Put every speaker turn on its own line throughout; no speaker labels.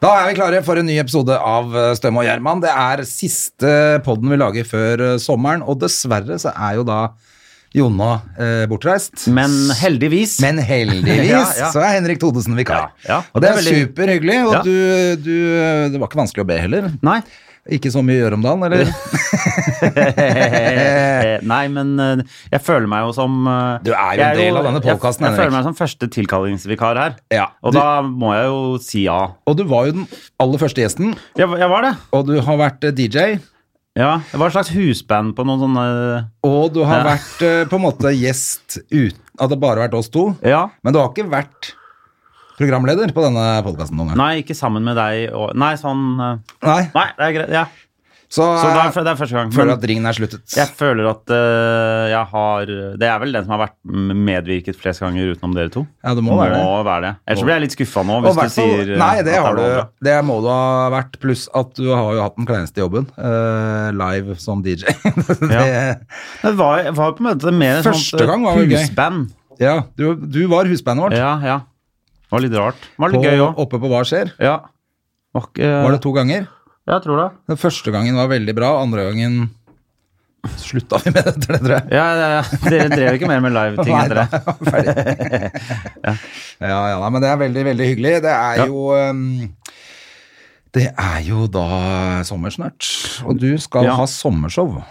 Da er vi klare for en ny episode av eh, Støm og Gjerman. Det er siste podden vi lager før eh, sommeren, og dessverre så er jo da Jonna eh, bortreist.
Men heldigvis.
Men heldigvis
Ja, ja.
så er Henrik Thodesen vikar.
Ja, ja.
Og det er,
Det er veldig-
superhyggelig, og
Ja.
du, du, eh, det var ikke vanskelig å be heller.
Nei.
Ikke så mye å gjøre om dagen, eller?
Eh, Nei, men eh, jeg føler meg jo som eh,
Du er jo en
jeg
del av denne podcasten,
Jeg, jeg
Henrik.
føler meg som første tilkallingsvikar her.
Ja.
Og
Du-
da må jeg jo si ja.
Og du var jo den aller første gjesten,
Jeg, jeg var det.
og du har vært eh, DJ,
Ja, Jeg var et slags husband på noen sånne
og du har
Ja.
vært eh, på en måte gjest uten at det bare har vært oss to.
Ja.
Men du har ikke vært programleder på denne podkasten noen gang?
Nei, ikke sammen med deg og Nei, sånn eh,
Nei.
Nei, det er greit. Ja.
Så,
Så det
jeg
er, det er første gang.
føler
Men-
at ringen er sluttet.
Jeg føler at øh, jeg har Det er vel den som har vært medvirket flest ganger utenom dere to.
Ja, det må være det.
Ellers blir jeg litt skuffa nå
Og
hvis du
hvert fall-
sier øh,
nei, det,
at
har du,
er bra.
det må du ha vært. Pluss at du har jo hatt den kleineste jobben. eh, live som DJ. det, ja.
Ja. Men det var, var på en måte mer et
Første
sånt øh,
gang var jo gøy.
husband.
du, du var husbandet vårt.
Ja, ja. Det var litt rart. Det var litt
på,
gøy òg.
oppe på Hva skjer?
Ja. Var, ikke- eh,
Var det to ganger?
Jeg tror det.
Den første gangen var veldig bra, andre gangen slutta vi med det, tror jeg, tror jeg.
Ja, ja, ja. Dere drev ikke mer med live-ting
Nei,
etter det?
Ja, ja, nei, men det er veldig, veldig hyggelig. Det er
Ja.
jo ehm, Det er jo da sommer snart. Og du skal
Ja.
ha sommershow.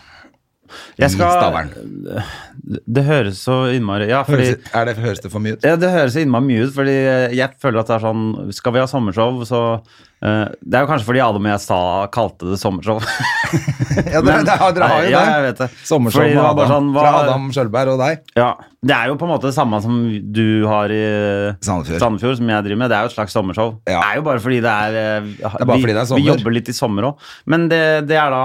Jeg
I
skal,
Stavern.
det høres så innmari Ja, fordi
Høres, er det, høres det for mye ut?
Ja, Det høres innmari mye ut, fordi eh, jeg føler at det er sånn Skal vi ha sommershow, så eh, Det er jo kanskje fordi Adam og jeg sa kalte det sommershow.
Ja, dere,
Men-
dere har- dere har jo
ja,
det.
jeg vet det.
Sommershow
Fordi det
med
var
Adam,
bare sånn, hva-
fra Adam Skjølberg og deg.
ja. Det er jo på en måte det samme som du har i eh,
Sandefjord.
som jeg driver med. Det er jo et slags sommershow.
Ja.
Det er jo bare fordi det er eh,
er bare
vi,
fordi det er
Vi
sommer.
jobber litt i sommer òg. Men det, det er da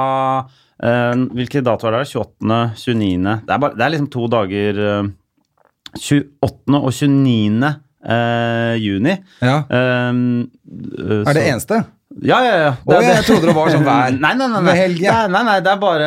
eh, Hvilke datoer er det? 28., 29. Det er, bare, det er liksom to dager eh, 28. og 29. eh, juni.
Ja.
Ehm, eh,
Er det
så-
eneste?
Ja, ja, ja.
Å, jeg trodde det var sånn hver-
Nei, nei, nei.
hver
nei.
helg, ja.
Nei, nei, nei, det er bare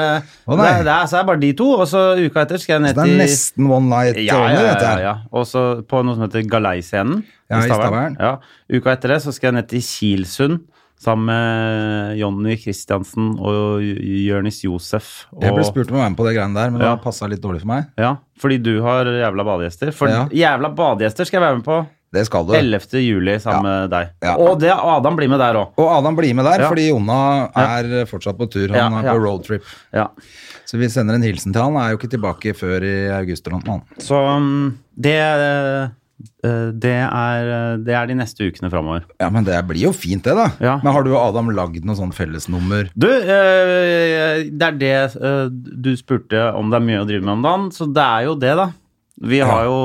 Å, nei.
Det, er, det, er, så er det bare de to, og så uka etter skal jeg
Så
ned
det
til
er nesten one night
ja,
only,
ja, ja,
dette
ja,
her.
ja. Og så på noe som heter Galeiscenen
Ja, i Stavern.
Ja. Uka etter det så skal jeg ned til Kilsund sammen med Jonny Christiansen og J- Jørnis Josef. Og,
Jeg ble spurt om å være med på det greiene der, men
Ja.
det passa litt dårlig for meg.
Ja, fordi du har jævla badegjester. For
Ja.
jævla badegjester skal jeg være med på
Det skal du.
11. juli sammen med deg.
Ja.
Og det, Adam blir med der òg.
Og Adam blir med der,
Ja.
fordi Jonna er fortsatt på tur. Han
Ja,
er
ja.
på roadtrip.
Ja.
Så vi sender en hilsen til han. Han er jo ikke tilbake før i august eller noe. annet.
Så um, det, eh, det, er, eh, det er de neste ukene framover.
Ja, men det blir jo fint, det, da.
Ja.
Men har du og Adam lagd noe sånn fellesnummer?
Du, eh, det er det eh, du spurte om det er mye å drive med om dagen, så det er jo det, da. Vi har jo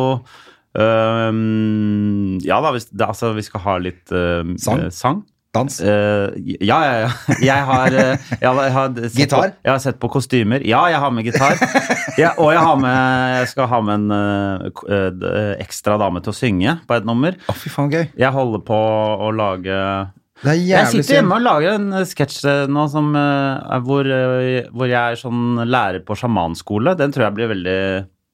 um, Ja da, hvis, det, altså, vi skal ha litt eh,
Sang?
eh, sang.
Dans?
Eh, ja, ja, ja. Jeg har, eh, jeg har, jeg har sett
Gitar?
På, jeg har sett på kostymer. Ja, jeg har med gitar. Ja, og jeg, har med, jeg skal ha med en eh, k- eh, d- eh, ekstra dame til å synge på et nummer.
Å, fy faen, gøy.
Jeg holder på å lage
Det er
Jeg
jævlig
sitter hjemme
synd.
og lager en eh, sketsj eh, nå som, eh, er hvor, eh, hvor jeg er sånn lærer på sjamanskole. Den tror jeg blir veldig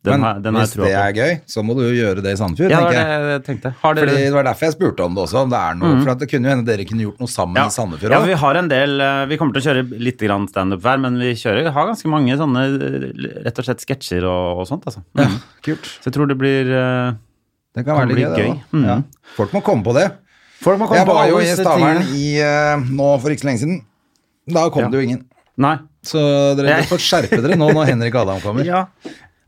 Den
Men
har, den har
hvis
jeg trua
det
på.
er gøy, så må du jo gjøre det i Sandefjord,
Ja, det
tenker
var
jeg.
det jeg tenkte. Har dere
Fordi Det var derfor jeg spurte om det også. Om det er noe, For at det kunne jo hende dere kunne gjort noe sammen
ja.
i Sandefjord
ja,
også.
vi har en del eh, Vi kommer til å kjøre litt grann standup hver, men vi kjører, har ganske mange sånne eh, rett og slett sketsjer og, og sånt, altså.
Ja,
Mm.
kult.
Så jeg tror det blir eh,
Det kan
Kan
være litt
bli
gøy. det
gøy.
også.
Mm.
Ja. Folk må komme på det.
Folk må komme
Jeg
på
var
alle
jo i
disse
Stavern
tingene.
i, eh, nå for ikke så lenge siden. Da kom
Ja.
det jo ingen.
Nei.
Så dere
Jeg-
får skjerpe dere nå når Henrik Adam kommer.
Ja.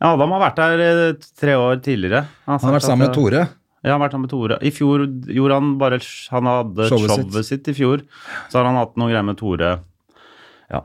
Adam har vært der eh, tre år tidligere.
Han har vært
sagt
sammen
at, eh,
med Tore.
Ja, han har vært sammen med Tore. I fjor gjorde han bare Han hadde
Showet
showet,
sitt.
sitt. i fjor. Så har han hatt noe greier med Tore.
Ja.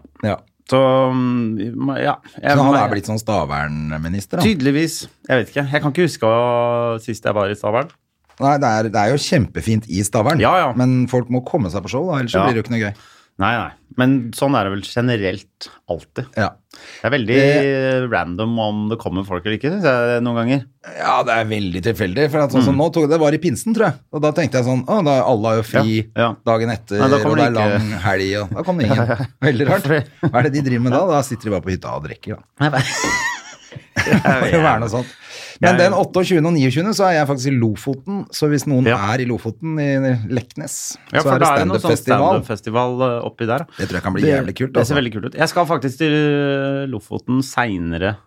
Så mm, ja. Jeg,
Så han er blitt sånn Stavern-minister, han.
Tydeligvis. Jeg vet ikke. Jeg kan ikke huske hva- sist jeg var i Stavern.
Nei, det er, det er jo kjempefint i Stavern,
Ja, ja.
men folk må komme seg på show, da, ellers så
Ja.
blir det jo ikke noe gøy.
Nei, nei. Men sånn er det vel generelt alltid.
Ja.
Det er veldig
Eh,
random om det kommer folk eller ikke, syns jeg noen ganger.
ja, det er veldig tilfeldig. For at, sånn,
Mm.
som nå tok, det var i pinsen, tror jeg. Og da tenkte jeg sånn Å, da alle har jo fri
Ja, ja.
dagen etter,
Nei, da
og
kommer det
det er
ikke-
lang helg, og da kom det ingen. Veldig rart. Hva er det de driver med da? Da sitter de bare på hytta og drikker, da. Det må jo være noe sånt.
Jeg-
Men den 28. og 29. så er jeg faktisk i Lofoten, så hvis noen
Ja.
er i Lofoten, i Leknes,
Ja,
så
for
er det
da er det noe sånn
standup-festival.
standup-festival eh, oppi der.
Det tror jeg kan bli jævlig kult,
Det ser
altså.
veldig kult ut. Jeg skal faktisk til eh, Lofoten seinere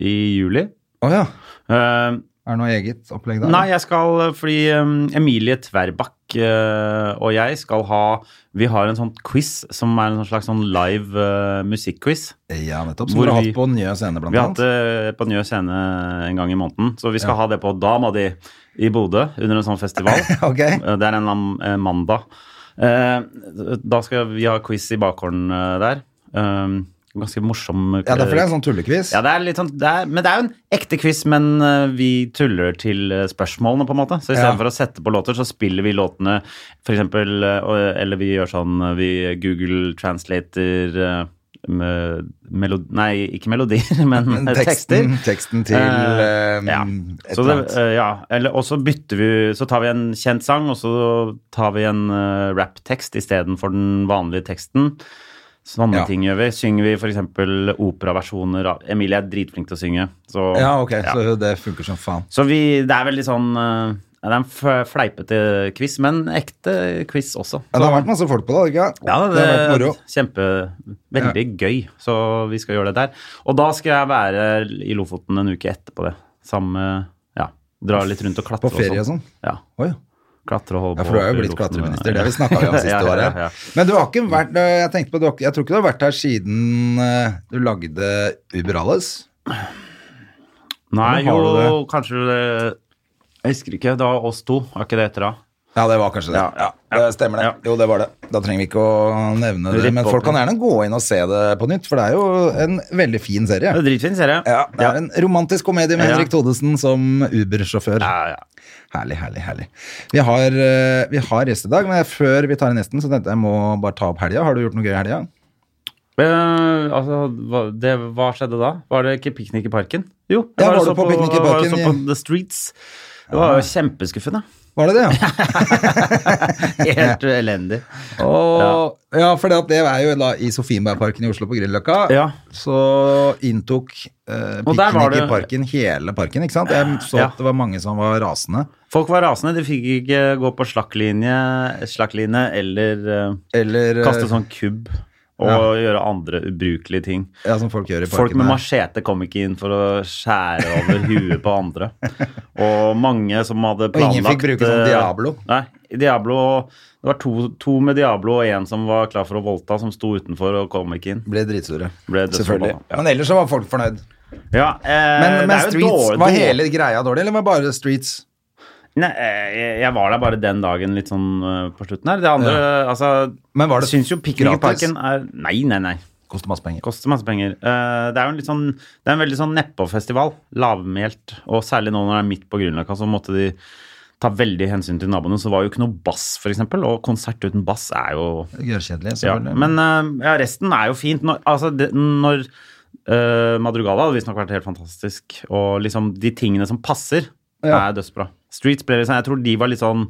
i juli.
Å ja.
Eh,
Er det noe eget opplegg der?
Nei, jeg skal fordi um, Emilie Tverbakk eh, og jeg skal ha Vi har en sånn quiz som er en sånn slags sånn live eh, musikkquiz.
Ja, nettopp. Som
Hvor
dere har
vi-
hatt på Njø scene,
Vi
blant
har hatt
annet.
det på Njø scene en gang i måneden, så vi skal ha det på Dama di i Bodø under en sånn festival.
Ok.
Eh, Det er en eller annen eh, mandag. Eh, da skal vi ha quiz i bakhånden eh, der. Eh, ganske morsom
Ja,
eh,
derfor er det en sånn tullekviss.
Ja, det er litt sånn, det er, men det er jo en ekte quiz, men eh, vi tuller til eh, spørsmålene, på en måte. Så
Ja.
istedenfor for å sette på låter, så spiller vi låtene f.eks. Eller vi gjør sånn eh, Vi Google translater eh, med melod, Nei, ikke melodier, men
Men
eh, tekster.
Mm. teksten, teksten til
Eh,
eh,
ja.
et
Så
eller
det,
annet.
eh, ja. Eller, og så bytter vi Så tar vi en kjent sang, og så tar vi en uh, rapptekst istedenfor den vanlige teksten. Sånne
Ja.
ting gjør vi. Synger vi f.eks. operaversjoner av Emilie er dritflink til å synge. Så,
ja, ok,
eh, ja.
så det funker som faen.
Så vi, det er veldig sånn eh, Det er en f- fleipete quiz, men ekte quiz også.
Ja, det har vært masse folk på det, har det ikke?
Ja,
det har vært moro.
Kjempe, veldig gøy. Så vi skal gjøre det der. Og da skal jeg være i Lofoten en uke etterpå det. Samme Ja. Dra litt rundt og klatre.
På ferie og sånn?
Ja.
Oi.
Klatre og holde
Ja,
på.
for du er
oppe
jo
i
blitt
Lofoten.
klatreminister, det har vi snakka om sist
Ja,
du var
ja, ja.
her. Men du har ikke vært eh, Jeg tenkte på, du har, ikke- jeg tror ikke du har vært her siden eh, du lagde Uber Alles.
Nei,
Nå har du
jo, kanskje det Jeg husker ikke. Det var oss to. Var ikke det etter da?
Ja, det var kanskje det. Ja, Det stemmer det.
Ja.
Jo, det var det. Da trenger vi ikke å nevne det.
Ripp
Men
opp
folk kan
litt.
gjerne gå inn og se det på nytt, for det er jo en veldig fin serie.
Det er en Dritfin serie.
Ja, det er en romantisk komedie med
Ja.
Henrik Thodesen som Uber-sjåfør.
Ja, ja.
Herlig, herlig, herlig. Vi har, eh, vi har gjest i dag, men før vi tar inn gjesten, så tenkte jeg jeg må bare ta opp helga. Har du gjort noe gøy i helga?
Eh, altså, hva, det, hva skjedde da? Var det ikke Piknik i parken? Jo, jeg
Ja, var
og
du
så
på Piknik i
var og
parken
så
i- Ah.
på The Streets. Det var jo kjempeskuffende.
Var det det, ja?
Helt elendig.
Og, ja. for det, at det er jo da i Sofienbergparken i Oslo på Grünerløkka.
Ja.
Så inntok eh,
Og der var
piknik i
det-
parken hele parken, ikke sant? Jeg så
Ja.
at det var mange som var rasende.
Folk var rasende. De fikk ikke gå på slakklinje, slakkline eller eh,
Eller eh,
kaste sånn kubb og gjøre andre ubrukelige ting.
ja, som folk gjør i parken.
Folk med
der.
machete kom ikke inn for å skjære over huet på andre. Og mange som hadde
Og
planlagt
ingen fikk bruke sånn
eh,
Diablo.
Nei, Diablo Det var to, to med Diablo og én som var klar for å voldta, som sto utenfor og kom ikke inn.
Ble dritsure.
Ble dødsforbanna,
Selvfølgelig.
ja.
Men ellers så var folk fornøyd.
Ja, eh,
Men,
det
men
er jo
Streets,
dårlig-
var hele greia dårlig, eller var bare Streets?
Nei, eh, jeg, jeg var der bare den dagen litt sånn eh, på slutten her. Det andre, altså
Men var det
Syns jo Piknik i
gratis?
parken er Nei, nei, nei.
Koster masse penger.
Koster masse penger. Eh, det er jo en litt sånn Det er en veldig sånn nedpå-festival. Lavmælt. Og særlig nå når det er midt på Grünerløkka, så måtte de ta veldig hensyn til naboene. Så var jo ikke noe bass, f.eks. Og konsert uten bass er jo
Gørrkjedelig,
ja,
selvfølgelig.
Men eh, ja, resten er jo fint. Når, altså, det, når eh, Madrugada hadde visstnok vært helt fantastisk, og liksom de tingene som passer,
Ja.
er dødsbra. Streets ble liksom Jeg tror de var litt sånn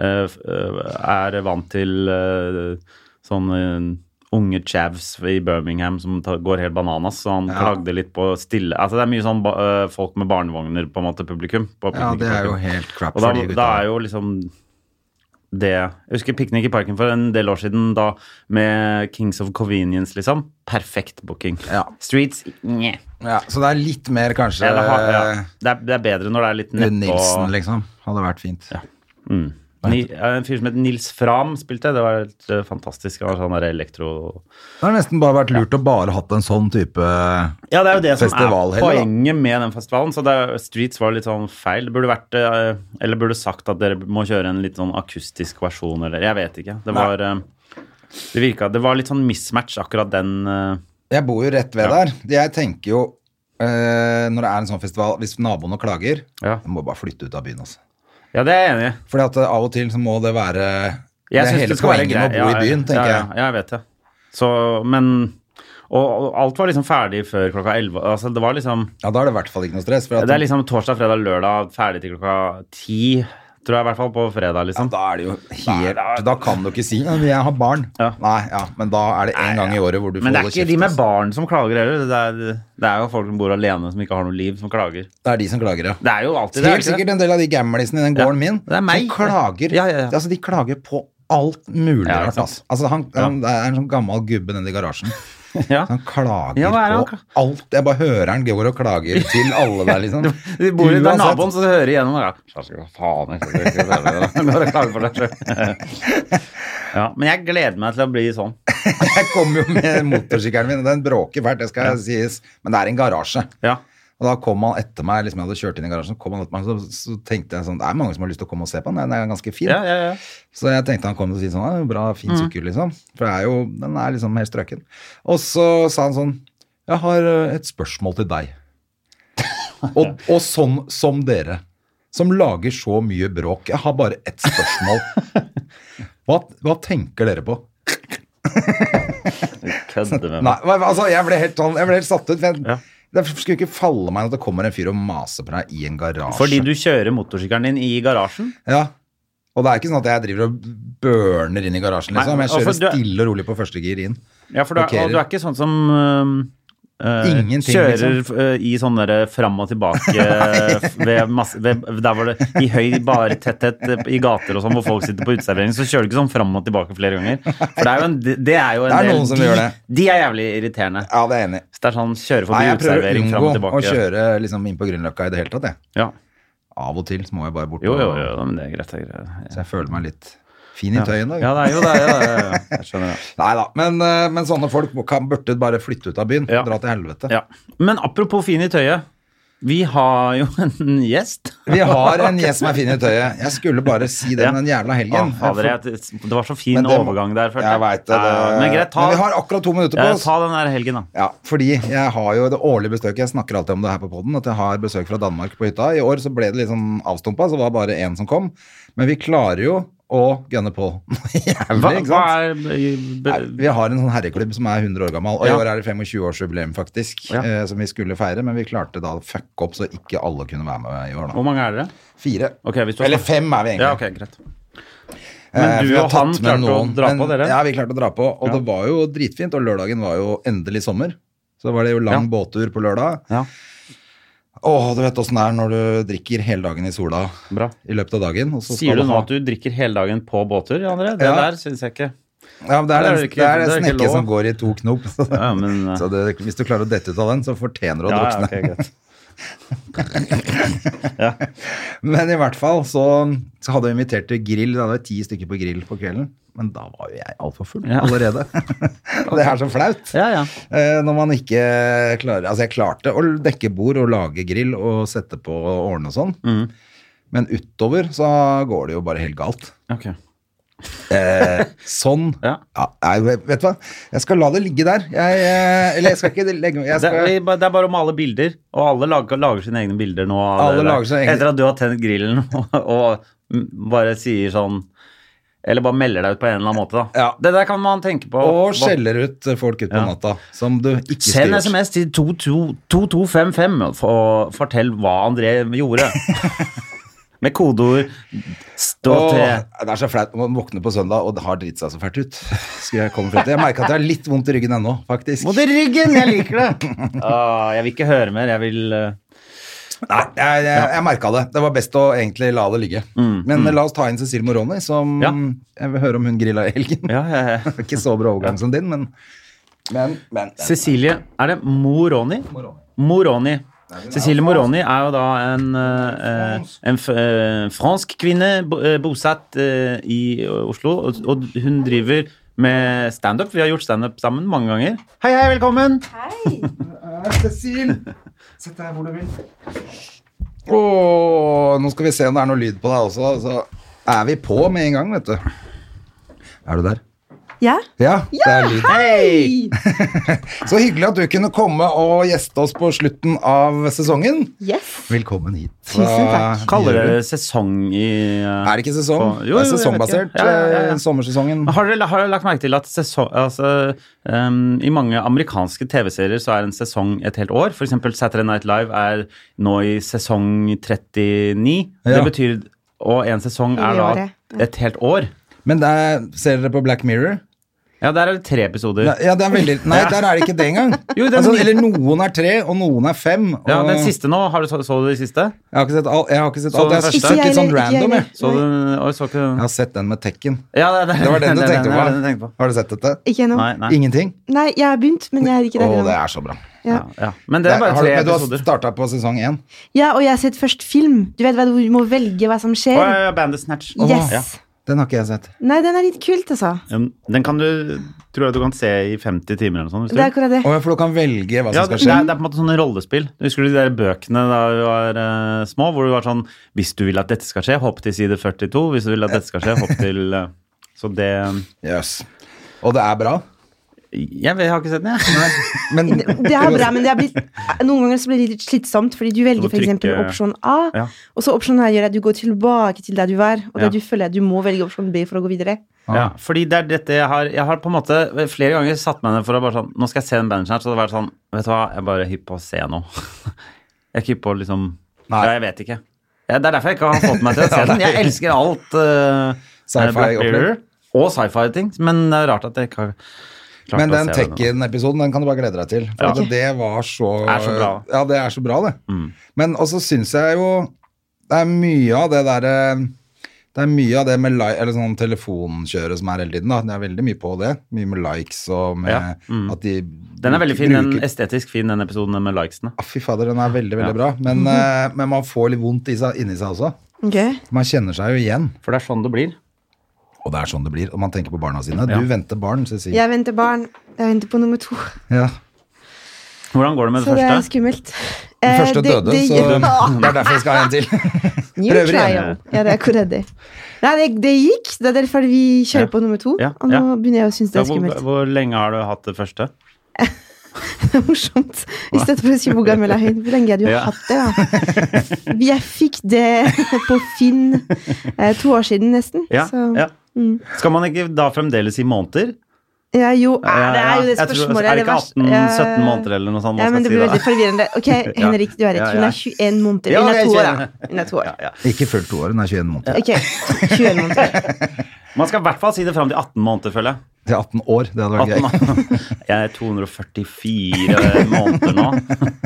eh, f- eh, Er vant til eh, sånn eh, Unge chavs i Birmingham som ta, går helt bananas, så han klagde litt på stille Altså det er mye sånn ba, eh, folk med barnevogner, på en måte, publikum. På
ja, det er jo
piknikparken.
helt crap
Og da,
for de gutta.
da er jo liksom det Jeg husker Piknik i parken for en del år siden, da med Kings of Convenience, liksom. Perfekt booking.
Ja.
Streets nye.
ja, så det er litt mer kanskje
Ja, det, har, ja. Det, er, det er bedre når det er litt
Rune
nedpå.
Nilsen, liksom. Hadde vært fint.
Ni, ja, en fyr som het Nils Fram spilte, det var helt eh, fantastisk. Han var sånn der elektro...
Det har nesten bare vært lurt å bare hatt en sånn type
Ja, det er jo det som
Festival
er
heller, da.
poenget med den festivalen. Så det, er- Streets var litt sånn feil. Det burde vært eh, Eller burde sagt at dere må kjøre en litt sånn akustisk versjon, eller Jeg vet ikke. Det var eh, Det virka Det var litt sånn mismatch, akkurat den eh,
Jeg bor jo rett ved
Ja.
der. Jeg tenker jo eh, når det er en sånn festival, hvis naboene klager
Ja.
Jeg må bare flytte ut av byen, altså.
Ja, det er jeg enig i.
Fordi at eh, av og til så må det være Det
Jeg
er
synes
hele
det skal være
poenget med å
grei-
bo
ja,
i byen, tenker
ja, ja, jeg vet det. Så, men og, og alt var liksom ferdig før klokka 11. Altså, det var liksom
jeg. Ja, Da er det i hvert fall ikke noe stress. For at,
Det er liksom torsdag, fredag, lørdag ferdig til klokka 10, tror jeg i hvert fall, på fredag,
ja,
liksom.
da er det jo helt Da kan du ikke si «Ja, 'jeg har barn'.
Ja.
Nei, ja, men da er det en gang i året hvor du får
Men det er
holde
ikke
kjeft. altså.
de med
ass.
barn som klager heller. Det er, det er jo folk som bor alene, som ikke har noe liv, som klager.
Det er de som klager, ja.
Det er jo alltid det. er
Helt
ikke det?
sikkert en del av de gamlisene i den
Ja,
gården min
det er meg.
som klager.
Ja, ja, ja.
Altså, de klager på alt mulig
Ja, ikke
rart.
sant.
Altså. Altså, han, han det er en sånn gammel gubbe nede i garasjen.
Ja.
Han klager
Ja, hva er det han
på
kla-
alt. Jeg bare hører han går og klager til alle der, liksom.
De bor i det er
Uansett.
naboen, så du hører igjennom det. Ja. Skal faen, jeg skal ikke se det. da. Går og klager for deg selv. Ja, men jeg gleder meg til å bli sånn.
Jeg kom jo med motorsykkelen min, og den bråker fælt, det skal sies. Men det er en garasje.
Ja.
Og da kom han etter meg, liksom jeg hadde kjørt inn i garasjen, kom han etter meg, så, så tenkte jeg sånn, det er mange som har lyst til å komme og se på den, den er ganske fin.
Ja, ja, ja.
Så jeg tenkte han kom og si sånn, «Ja, bra, fin
Mm.
sykkel, liksom. For det er jo, den er liksom helt strøken. Og så sa han sånn, jeg har eh, et spørsmål til deg. Og, og sånn som dere, som lager så mye bråk, jeg har bare ett spørsmål. Hva, hva tenker dere på?
Kødde med meg.
Nei, men altså, jeg ble helt, sånn, jeg ble helt satt ut. for Jeg,
Ja.
Det skulle ikke falle meg inn at det kommer en fyr og maser på deg i en garasje.
Fordi du kjører motorsykkelen din i garasjen?
Ja. Og det er ikke sånn at jeg driver og burner inn i garasjen,
Nei,
liksom. Jeg
altså, du
kjører
er-
stille og rolig på første gir inn.
Ja, for du er,
Blokkerer.
og du er ikke sånn som øhm, øh,
Ingenting, liksom.
kjører øh, i sånn derre fram og tilbake øh, ved masse ved, Der var det i høy bartetthet øh, i gater og sånn hvor folk sitter på uteservering, så kjører du ikke sånn fram og tilbake flere ganger. For det er jo en, det er jo en
Det er
del
noen som
de,
gjør det.
de er jævlig irriterende.
Ja, det er jeg enig. i.
Så det er sånn kjøre
Nei,
forbi
jeg prøver å
uteservering fram og
unngå å
tilbake.
kjøre liksom inn på Grünerløkka i det hele tatt, jeg.
Ja.
Av og til så må jeg bare bort
Jo, jo,
og-
jo, da, men det er greit. Det er greit.
Så jeg føler meg litt fin i tøyet i dag.
Ja, det er jo det. Ja, ja, ja, ja. Jeg skjønner det.
Nei da. Men, eh, men sånne folk må- kan, burde bare flytte ut av byen.
Ja.
Dra til helvete.
Ja. Men apropos fin i tøyet. Vi har jo en gjest.
Vi har en gjest som er fin i tøyet. Jeg skulle bare si det
Ja.
den jævla helgen.
Å, fader,
Jeg får-
jeg, det var så fin
Men det må-
overgang der. følte
Jeg vet det.
Ja, men greit, ta,
Men vi har akkurat to minutter på
ja,
oss.
ta den der helgen, da.
Ja, fordi jeg har jo det årlige besøket. Jeg snakker alltid om det her på poden, at jeg har besøk fra Danmark på hytta. I år så ble det litt sånn avstumpa, så det var bare én som kom. Men vi klarer jo å gønne på
Hva,
noe jævlig, ikke
hva
sant?
er be,
Nei, Vi har en sånn herreklubb som er 100 år gammel, og
Ja.
i år er det 25-årsjubileum faktisk,
Ja.
eh, som vi skulle feire, men vi klarte da å fucke opp så ikke alle kunne være med i år, da.
Hvor mange er dere?
Fire.
Ok, hvis du har-
Eller fem er vi egentlig.
Ja, ok, greit. Men
Eh,
du
for vi har
og han
tatt med
klarte å dra på, dere?
Ja, vi klarte å dra på, og
Ja.
det var jo dritfint. Og lørdagen var jo endelig sommer. Så var det jo lang
Ja.
båttur på lørdag.
Ja.
Åh, du vet åssen det er når du drikker hele dagen i sola
Bra.
i løpet av dagen. Og så skal
Sier du nå
ha-
at du drikker hele dagen på båttur, André? Det
Ja.
der syns jeg ikke.
Ja, men det
Det er
er, den-
jo ikke-
det er
det er
en
ikke
snekke
lov.
som går i to knop. Så,
Ja, men, eh,
så det, hvis du klarer å dette ut av den, så fortjener du å
Ja, ja,
drukne.
ok, greit.
Men i hvert fall så, så hadde vi invitert til grill. Det var ti stykker på grill på kvelden. Men da var jo jeg altfor full
Ja.
allerede. Og det er så flaut.
Ja, ja.
Eh, Når man ikke klarer Altså, jeg klarte å dekke bord og lage grill og sette på og ordne og sånn.
Mm.
Men utover så går det jo bare helt galt.
Ok.
Eh, sånn
Ja.
nei, Vet du hva? Jeg skal la det ligge der. Jeg, eh, eller jeg skal ikke legge meg jeg
Det,
skal,
vi, ba- det er bare å male bilder, og alle lager, lager sine egne bilder nå. av
Alle
det der.
lager sine egne-
Etter at du har tent grillen og, og m- bare sier sånn Eller bare melder deg ut på en eller annen måte, da.
Ja.
Det der kan man tenke på.
Og
Hva-
skjeller ut eh, folk ut på
Ja.
natta. Som du ikke
Send
skulle gjort.
SMS til 22- 2255 og f- fortell hva André gjorde. Med kodeord stå
Åh,
til.
det er så flaut man våkner på søndag og det har dritt seg så fælt ut. Skulle jeg komme frem til. Jeg merker at jeg har litt vondt i ryggen ennå, faktisk.
Mot i ryggen! Jeg liker det! Åh, jeg vil ikke høre mer. Jeg vil eh,
Nei, jeg, jeg, jeg merka det. Det var best å egentlig la det ligge. Men eh, la oss ta inn Cecilie Moroni, som
Mm, Ja.
Jeg vil høre om hun grilla i helgen.
Ja, ja, ja.
Det var Ikke så bra overgang som din, men Men, men. men.
Cecilie Er det Moroni?
Moroni.
Moroni. Cecilie Moroni er jo da en, eh, en f- eh, fransk kvinne bo- eh, bosatt eh, i Oslo, og- og hun driver med standup. Vi har gjort standup sammen mange ganger. Hei, hei, velkommen!
Nei, Cecil! Sett deg hvor du vil. Åh, nå skal vi se om det er noe lyd på deg også. Så er vi på med en gang, vet du. Er du der?
Ja?
Ja, det er lyd.
Hei!
Så hyggelig at du kunne komme og gjeste oss på slutten av sesongen.
Yes.
Velkommen hit.
Tusen takk.
Hva
Kaller
gjør
dere
du?
det sesong i eh,
Er det ikke sesong?
På- Jo, jo, jeg
det er
vet
sesongbasert.
ikke. Ja, ja, ja, Ah. ja.
eh, Sommersesongen.
har dere, har dere lagt merke til at sesong, altså, ehm, i mange amerikanske TV-serier så er en sesong et helt år? For eksempel Saturday Night Live er nå i sesong 39. Det
Ja.
betyr, og en sesong
Hele
er da
året, ja.
et helt år.
Men der, ser dere på Black Mirror?
Ja, der er det tre episoder.
Nei, Ja, det er veldig, nei der er det ikke det engang.
Jo, det er
altså,
mye.
eller noen er tre, og noen er fem. Og
Ja, den siste nå, har du så, så du de siste?
Jeg har ikke sett alt. Jeg har ikke sett
Så
alt. Jeg
den
har
første?
sett litt sånn
Ikke jeg heller,
random, jeg.
ikke
Så du, oi, så ikke
Jeg har sett den med Tekken.
Ja, det,
Det var den du
det- det
tenkte
var den jeg
på. Har du sett dette?
Ikke ennå.
Nei,
Nei.
nei.
Ingenting?
jeg har begynt, men jeg er ikke
Å,
der
det
ennå.
er så bra.
Ja.
Ja, ja. Men det er bare
har
tre
du, men du
episoder.
har starta på sesong én.
ja, og jeg har sett først film. Du vet hva, du må velge hva
Å,
som
ja,
skjer.
ja, Bandersnatch.
Yes.
Ja.
Den har ikke jeg sett.
Nei, den er litt kult, altså.
Um, Den kan du, tror jeg du kan se i 50 timer eller noe sånt. hvis du
Det
vil.
er akkurat det.
Å, ja, for du kan velge hva
Ja,
som
det, det
skal skje.
er, det er på en måte sånne rollespill. Du Husker du de der bøkene da vi var eh, små, hvor det var sånn Hvis du vil at dette skal skje, hopp til side 42. Hvis du vil at dette skal skje, hopp til eh, Så det
Jøss. Og det er bra.
Jeg, vet, jeg har ikke sett den, jeg.
Men
Det er bra, men det er blitt, noen ganger så blir det litt slitsomt, fordi du
Du må
velger f.eks.
trykke-
opsjon A,
Ja.
og så opsjon A gjør at du går tilbake til der du var, og
Ja.
da du føler at du må velge opsjon B for å gå videre.
Ja, fordi det er dette jeg har Jeg har på en måte flere ganger satt meg ned for å bare sånn Nå skal jeg se en bandersnatch, og det har vært sånn Vet du hva, jeg er bare hypp på å se noe. Jeg er ikke hypp på liksom
Nei.
Ja, jeg vet ikke. Ja, det er derfor jeg ikke har fått meg til å se den. Jeg elsker alt eh,
Sci-fi
Black Mirror
opplegg.
og sci-fi-ting, men det er rart at jeg ikke har klart
Men
å se
den
det nå.
Tekken-episoden den kan du bare glede deg til. For
Ja.
at det var så
Er så bra. Mm.
Ja, det er så bra, det. Men også syns jeg jo det er mye av det derre det er mye av det med li eller sånn telefonkjøret som er hele tiden. da. Det er veldig mye på det. Mye med likes og med
Ja, mm.
at de
Den er veldig fin, den
bruker-
estetisk fin, den episoden med likesene.
Ah, Fy fader, den er veldig, veldig
Ja.
bra. Men, eh, men man får litt vondt i seg, inni seg også. Man kjenner seg jo igjen.
For det er sånn det blir.
Og det er sånn det blir. Og man tenker på barna sine.
Ja.
Du venter barn, Cecilie.
Jeg venter barn. Jeg venter på nummer to.
Ja.
Hvordan går det med
Så
det
det er
første?
skummelt.
Den
Eh,
første
det-
døde,
det-
så det er derfor jeg skal ha en til.
New
Prøver
trial.
igjen.
Ja, det er akkurat det. Nei, det, det gikk. Det er derfor vi kjører
Ja.
på nummer to.
Ja,
Og nå
ja.
begynner jeg å synes det
Ja,
er
hvor,
skummelt.
hvor lenge har du hatt det første?
Det er morsomt. I stedet for å si hvor gammel jeg er. Hvor lenge har du
Ja.
hatt det, da? Jeg fikk det på Finn eh, to år siden, nesten.
Ja,
Så mm.
ja. Skal man ikke da fremdeles i måneder?
ja, jo, eh, det er jo det
Jeg tror-
spørsmålet.
Er det ikke
verste.
18-17 måneder eller noe sånt? man
Ja,
skal
men det blir
si da?
veldig forvirrende. Ok, Henrik, du har rett. Hun
Ja, ja.
er 21 måneder.
Ja,
Hun er
jeg
to år,
kjenner.
da. Hun er to år.
Ikke fullt to år, hun er 21 måneder.
Ok, 21 måneder.
Man skal i hvert fall si det fram til 18 måneder, føler jeg.
Til 18 år, det hadde vært
18
gøy.
Jeg er 244 måneder nå.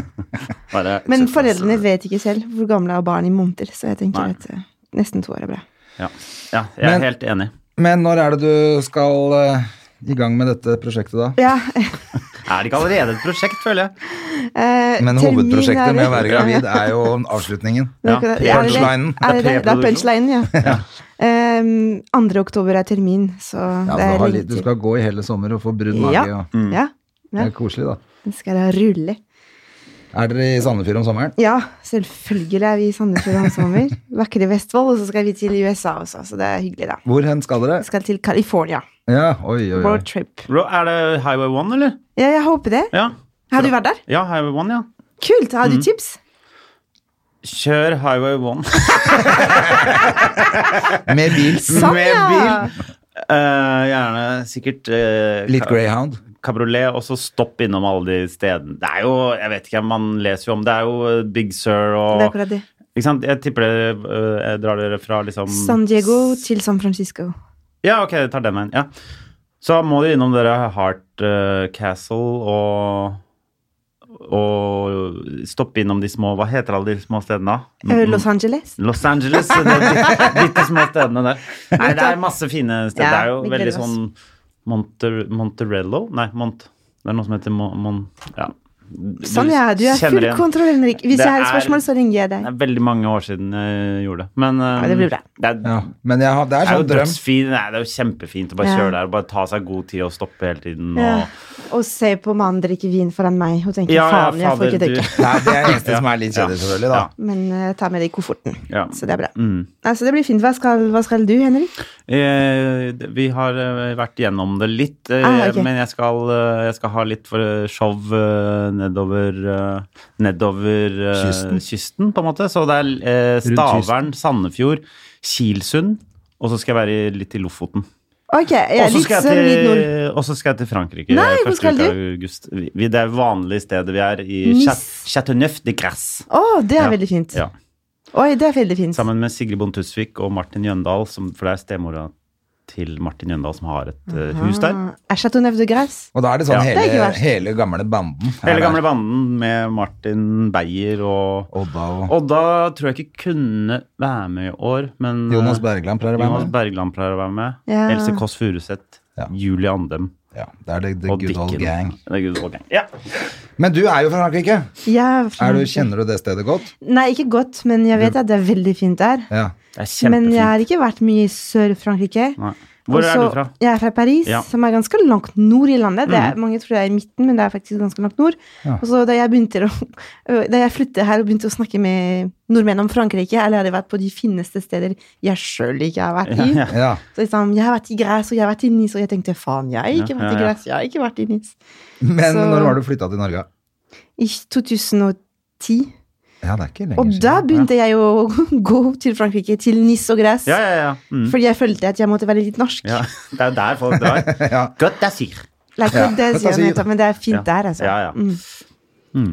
Bare,
Men foreldrene vet ikke selv hvor gamle er barn i måneder, så jeg tenker
Nei.
at eh, nesten to år er bra.
ja. ja, jeg er
Men-
helt enig.
Men når er det du skal eh, i gang med dette prosjektet, da?
Ja,
Er det ikke allerede et prosjekt, føler jeg?
eh,
Men
termin er
hovedprosjektet
det-
med å være gravid er jo avslutningen.
Ja, akkurat-
Ja,
er det det?
punchlinen.
Er det, det? det er
Pre-produksjon.
punchlinen, ja. Em, 2. oktober er termin, så
Ja,
det
så du, har,
er lenge
Altså, litt- du
til.
skal gå i hele sommer og få brun
ja.
mage. Og,
ja.
det
ja.
er koselig, da.
Den skal da rulle.
Er dere i Sandefjord om sommeren?
Ja, selvfølgelig er vi i Sandefjord om sommer. Vakre Vestfold, og så skal vi til USA også, så det er hyggelig, da.
Hvor hen skal dere?
Vi skal til California.
Ja, oi, oi, oi.
Road trip.
Ro- Er det Highway 1, eller?
Ja, jeg håper det.
Ja.
Har du vært der?
ja, Highway 1, ja.
Kult! Har du tips?
Kjør Highway 1
Med bil.
Sånn,
med
ja.
bil. Eh, gjerne sikkert eh,
Litt
ka-
greyhound.
kabriolet, og så stopp innom alle de stedene. Det er jo, jeg vet ikke, man leser jo om det. er jo eh, Big Sur
Det er
og
akkurat det.
Ikke sant? Jeg tipper dere eh, jeg drar dere fra liksom
San Diego til San Francisco.
Ja, ok, jeg tar den veien. Ja. Så må dere innom dere Heart eh, Castle og og stoppe innom de små Hva heter alle de små stedene? da?
Eh, Los Angeles.
Los Angeles. De bitte små stedene der. Nei, det er masse fine steder.
Ja,
det er jo
vi gleder
veldig
oss.
sånn Monter, Monterello Nei, Mont, det er noe som heter Mon... Mon ja.
Sånn, ja. Du er
kjenner
full
igjen.
kontroll, Henrik. Hvis
Det
jeg har et
er-
spørsmål, så ringer jeg
Det
deg.
er veldig mange år siden jeg gjorde det. Men eh,
Ja, det blir bra.
det er,
Ja, men jeg har, det
det
er
er jo
sånn drøm.
dødsfint. Nei, det er jo kjempefint å bare
Ja.
kjøre der og bare ta seg god tid og stoppe hele tiden. Og,
Ja. Og se på mannen drikke vin foran meg og tenke
Ja, ja,
faen, jeg får ikke
fader, du-
drikke.
Nei, det er det eneste som er litt kjedelig, selvfølgelig. da.
Ja.
Men eh, ta med det i kofferten.
Ja.
Så det er bra.
Mm.
Nei, så det blir fint. Hva skal, hva skal du, Henrik?
Eh, d- Vi har eh, vært gjennom det litt, eh,
Ah, ok.
men jeg skal, eh, jeg skal ha litt for eh, show eh, nedover, eh, nedover eh,
Kysten.
kysten, på en måte. Så det er eh,
kysten.
Stavern, Sandefjord, Kilsund, og så skal jeg være i- litt i Lofoten.
Ok, jeg
Og
er
så
litt
skal,
sånn
jeg
litt nord.
til- og så skal jeg til Frankrike.
Nei, hvor
første
skal
uke av
du?
August. Vi, vi- det er vanlige stedet vi er, i
Nice.
Chat- Chateauneuf de Grasse.
Å, det
Ja.
er veldig fint.
Ja.
Oi, det er veldig fint.
Sammen med Sigrid Bonde Tusvik og Martin Jøndal, som, for det er stemora til Martin Jøndal som har et eh, hus der.
Ah, er Chateauneuf de Grasse?
Og da er det sånn
Ja.
Det er
hele,
ikke verst.
hele gamle banden. er
Hele
der.
gamle banden med Martin Beyer og
Odda og
Odda tror jeg ikke kunne være med i år, men eh,
Jonas Bergland pleier å være
Jonas
med.
Bergland pleier å være med.
Ja.
Else Kåss Furuseth.
Ja.
Julie Andem.
Ja, det er the, the
og
good old
Dikken.
gang.
The good old gang. Ja.
Men du er jo fra Frankrike.
Ja, fra-
Er du, kjenner du det stedet godt?
Nei, ikke godt, men jeg vet at det er veldig fint der.
Ja.
Det er
Men jeg har
kjempefint.
ikke vært mye i Sør-Frankrike.
Nei. Hvor er
Også-
du fra?
Jeg er fra Paris,
Ja. Mm.
som er ganske langt nord i landet. Det er, mange tror jeg er i midten, men det er faktisk ganske langt nord.
Ja.
Og så da jeg, begynte å, da jeg flyttet her og begynte å snakke med nordmenn om Frankrike, eller hadde vært på de fineste steder jeg sjøl ikke har vært i.
Ja, ja.
ja.
Så liksom, Jeg har vært i Græs, og jeg har vært i Nis, og jeg tenkte faen, jeg har ikke
Ja,
vært
ja,
i
ja.
Græs, jeg har ikke vært i Nis.
Men
Så-
når var du flytta til Norge?
I 2010.
Ja, det er ikke lenger
Og da
siden.
begynte jeg å gå til Frankrike, til Nis og Græs.
ja, ja, ja. Mm.
Fordi jeg følte at jeg måtte være litt norsk.
ja. Det er jo der folk drar.
Ja.
Godt det sier.
Like,
Ja,
det
dette
sier
sier-
nettopp, men det er fint
Ja.
der, altså.
Ja, ja.
Mm.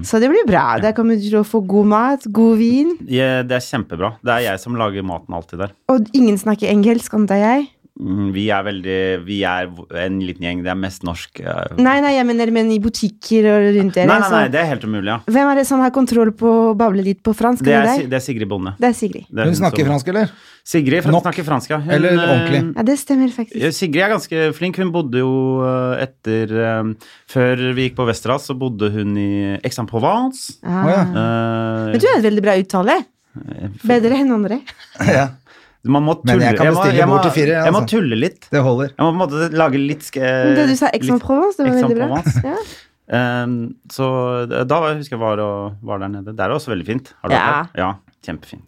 Så det blir bra. Der kommer du til å få god mat, god vin,
Ja, det er kjempebra. Det er jeg som lager maten alltid der.
og ingen snakker engelsk, antar jeg.
Mm, Vi er veldig Vi er en liten gjeng. Det er mest norsk. eh.
Nei, nei, jeg mener men i butikker og rundt
Nei,
dere.
nei, nei,
så-
det er helt umulig, ja.
Hvem er det som har kontroll på å bable litt på fransk?
Det
er
er,
det
Si-
deg?
det er Sigrid Bonde.
Det er Sigrid.
Det er
Hun snakker
som-
fransk, eller?
Sigrid fra-
Nok.
snakker fransk, ja. Hun,
Eller
eh,
ordentlig.
Ja, det stemmer faktisk.
ja, Sigrid er ganske flink. Hun bodde jo eh, etter eh, Før vi gikk på Westerdals, så bodde hun i Aix-en-Provence.
Ah.
Å, ja.
Eh,
Men du har et veldig bra uttale. Bedre enn andre.
ja.
man må
Men
tulle.
jeg kan
må-
bestille
jeg må-
bord til fire,
Jeg må
altså.
tulle litt.
Det holder.
Jeg må på en måte lage litt sk-
Men det du sa, Aix-en-Provence, det var veldig bra.
Eh, Aix-en-Provence.
Ja.
Ehm, så da var, husker jeg var, og, var der nede. Der er også veldig fint. Har du
Ja.
vært der? Ja, kjempefint.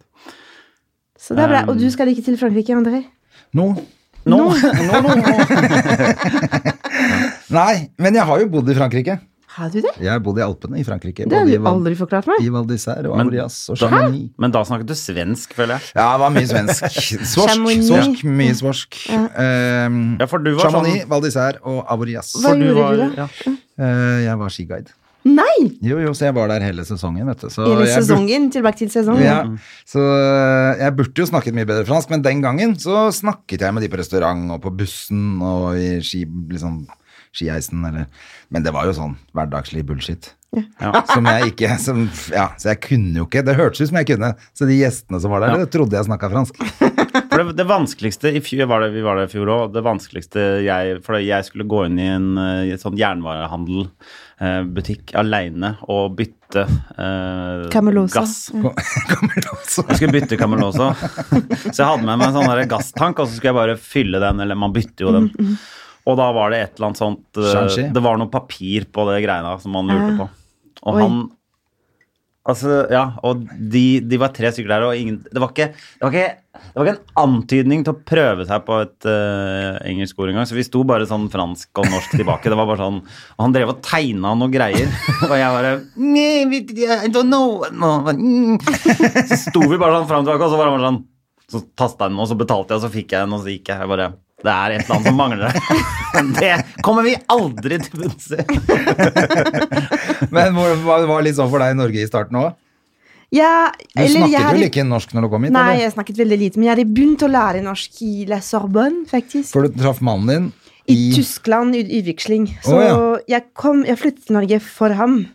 Så det er bra. Og
Um,
du skal ikke til Frankrike, André?
Nå?
Nå, nå, nå, nå.
Nei, men jeg har jo bodd i Frankrike.
Har du det?
Jeg har bodd i Alpene i Frankrike.
Det har
både i
du
Val-
aldri forklart meg.
I Val d'Isère og
Men-
Aurias og Chamonix.
Men da snakket du svensk, føler jeg.
Ja, det var mye svensk. Svorsk.
Chamonix.
svorsk mye svorsk. Ehm,
Ja, for du var
Chamonix,
sånn
Val d'Isère og Aurias.
Hva
for
gjorde
var-
du da?
ja.
Eh, jeg var skiguide.
Nei!
Jo, jo, så jeg var der hele sesongen, vet du. Så
Hele
jeg burde-
sesongen. Tilbake til sesongen.
Ja, så eh, jeg burde jo snakket mye bedre fransk, men den gangen så snakket jeg med de på restaurant og på bussen og i ski, liksom, skieisen eller Men det var jo sånn hverdagslig bullshit. Som jeg ikke som, Ja, så jeg kunne jo ikke. Det hørtes ut som jeg kunne, så de gjestene som var der, det trodde jeg snakka fransk.
For det, det vanskeligste i fjor, var det, Vi var der i fjor òg. Det vanskeligste jeg For jeg skulle gå inn i en, eh, i et sånn jernvarehandelbutikk aleine og bytte eh,
Camelosa.
gass.
Kommer det også.
Jeg skulle bytte Camelosa. Så jeg hadde med meg en sånn der gasstank, og så skulle jeg bare fylle den, eller man bytter jo den. Og da var det et eller annet sånt eh,
Shanxi.
Det var noe papir på det greina som han lurte på. Og
Oi.
han Altså, ja, og de, de var tre stykker der, og ingen Det var ikke, det var ikke, det var ikke en antydning til å prøve seg på et eh, engelsk ord engang, så vi sto bare sånn fransk og norsk tilbake. Det var bare sånn Og han drev og tegna noe greier, og jeg bare "Nee, we- I don't know. No, but, mm." Så sto vi bare sånn fram og tilbake, og så var han bare sånn Så tasta jeg den, og så betalte jeg, og så fikk jeg den, og så gikk jeg. Jeg bare Det er et eller annet som mangler der. Det kommer vi aldri til bunns i.
Men hvor- hva- det var litt sånn for deg i Norge i starten òg?
Ja,
Du
eller jeg
snakket
har
jo
i-
like norsk når du kom hit?
Nei,
eller?
jeg snakket veldig lite, men jeg hadde begynt å lære norsk i La Sorbonne, faktisk.
For du traff mannen din
I
i
Tyskland, i utveksling. Så
Å,
jeg, kom, jeg flyttet til Norge for ham.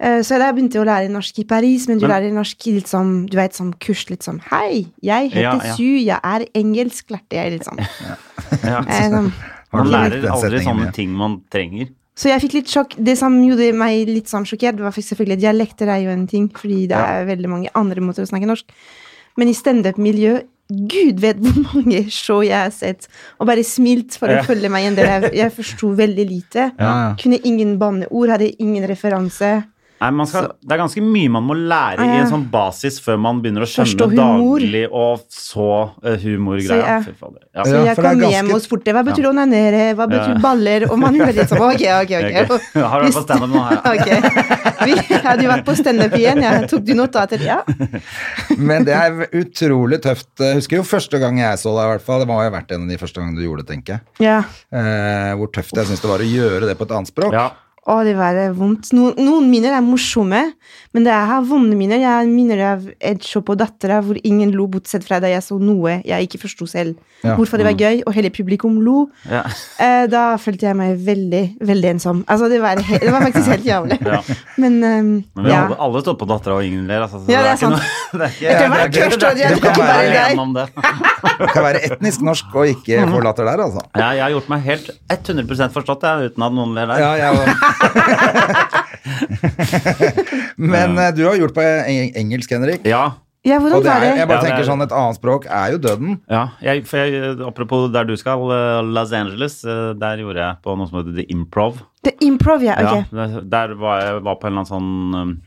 Eh, Så da begynte jeg å lære norsk i Paris, men du
Men-
lærer norsk i litt som, du vet, som kurs, litt som Hei, jeg heter
Ja, ja.
Sue, jeg er engelsk, lærte jeg, litt sånn.
Ja.
Eh, sånn.
Man
Har du likt
lærer
den
aldri sånn
setningen
sånne
mye?
ting man trenger.
Så jeg fikk litt sjokk. Det som gjorde meg litt sånn sjokkert, var fikk selvfølgelig dialekter er jo en ting, fordi det er veldig mange andre måter å snakke norsk. Men i standup-miljø, gud vet hvor mange show jeg har sett, og bare smilt for
Ja.
å følge meg en del. Jeg, jeg forsto veldig lite.
Ja, ja.
Kunne ingen banneord, hadde ingen referanse.
Nei, man skal, det er ganske mye man må lære i
Ah, Ja.
en sånn basis før man begynner å skjønne
Forstå humor.
daglig og så eh, humorgreia.
Så jeg-
Fy fader. Ja.
Så
Ja,
jeg
for det er
kom
ganske-
hjem og spurte hva betyr onanere, hva betyr
Ja.
baller, og man hører litt sånn ok, ok, ok.
Ok. Har du vært på stand-up nå? Ja.
Ok. Vi hadde jo vært på standup igjen, jeg tok du notater? Ja.
Men det er utrolig tøft. Jeg husker jo første gang jeg så deg, i hvert fall. Det må jo ha vært en av de første gangene du gjorde det, tenker jeg.
ja.
Eh, hvor tøft jeg syns det var å gjøre det på et annet språk.
Ja.
Å, det var eh, vondt. Noen, noen minner er morsomme, men det er vonde minner. Jeg har minner av et show på Dattera hvor ingen lo, bortsett fra da jeg så noe jeg ikke forsto selv.
Ja. Mm.
Hvorfor det var gøy, og hele publikum lo.
Ja.
Eh, da følte jeg meg veldig, veldig ensom. Altså, det var, he det var faktisk helt jævlig.
Ja.
Men, ehm,
Men vi
ja.
alle, alle står på dattera og ingen ler. Altså, så
Ja, det er
ikke noe-
sant.
det er ikke-
Jeg tror det
det
var
er ikke-
kult, og det er
du kan
ikke bare
være
deg.
gjennom det.
Det kan være etnisk norsk og
Mhm.
ikke forlater der, altså.
Ja, jeg har gjort meg helt 100 forstått jeg, uten at noen ler der.
Ja, jeg Men eh, du har gjort på eng- engelsk, Henrik.
Ja,
ja,
Og
hvordan
det er,
var det?
jeg bare
Ja, det er-
tenker sånn, et annet språk er jo døden.
ja. Jeg, for jeg, apropos der du skal, eh, Los Angeles, eh, der gjorde jeg på noe som heter The Improv.
Det er improv, ja. Ok.
Ja, der- der var jeg var på en eller annen sånn um,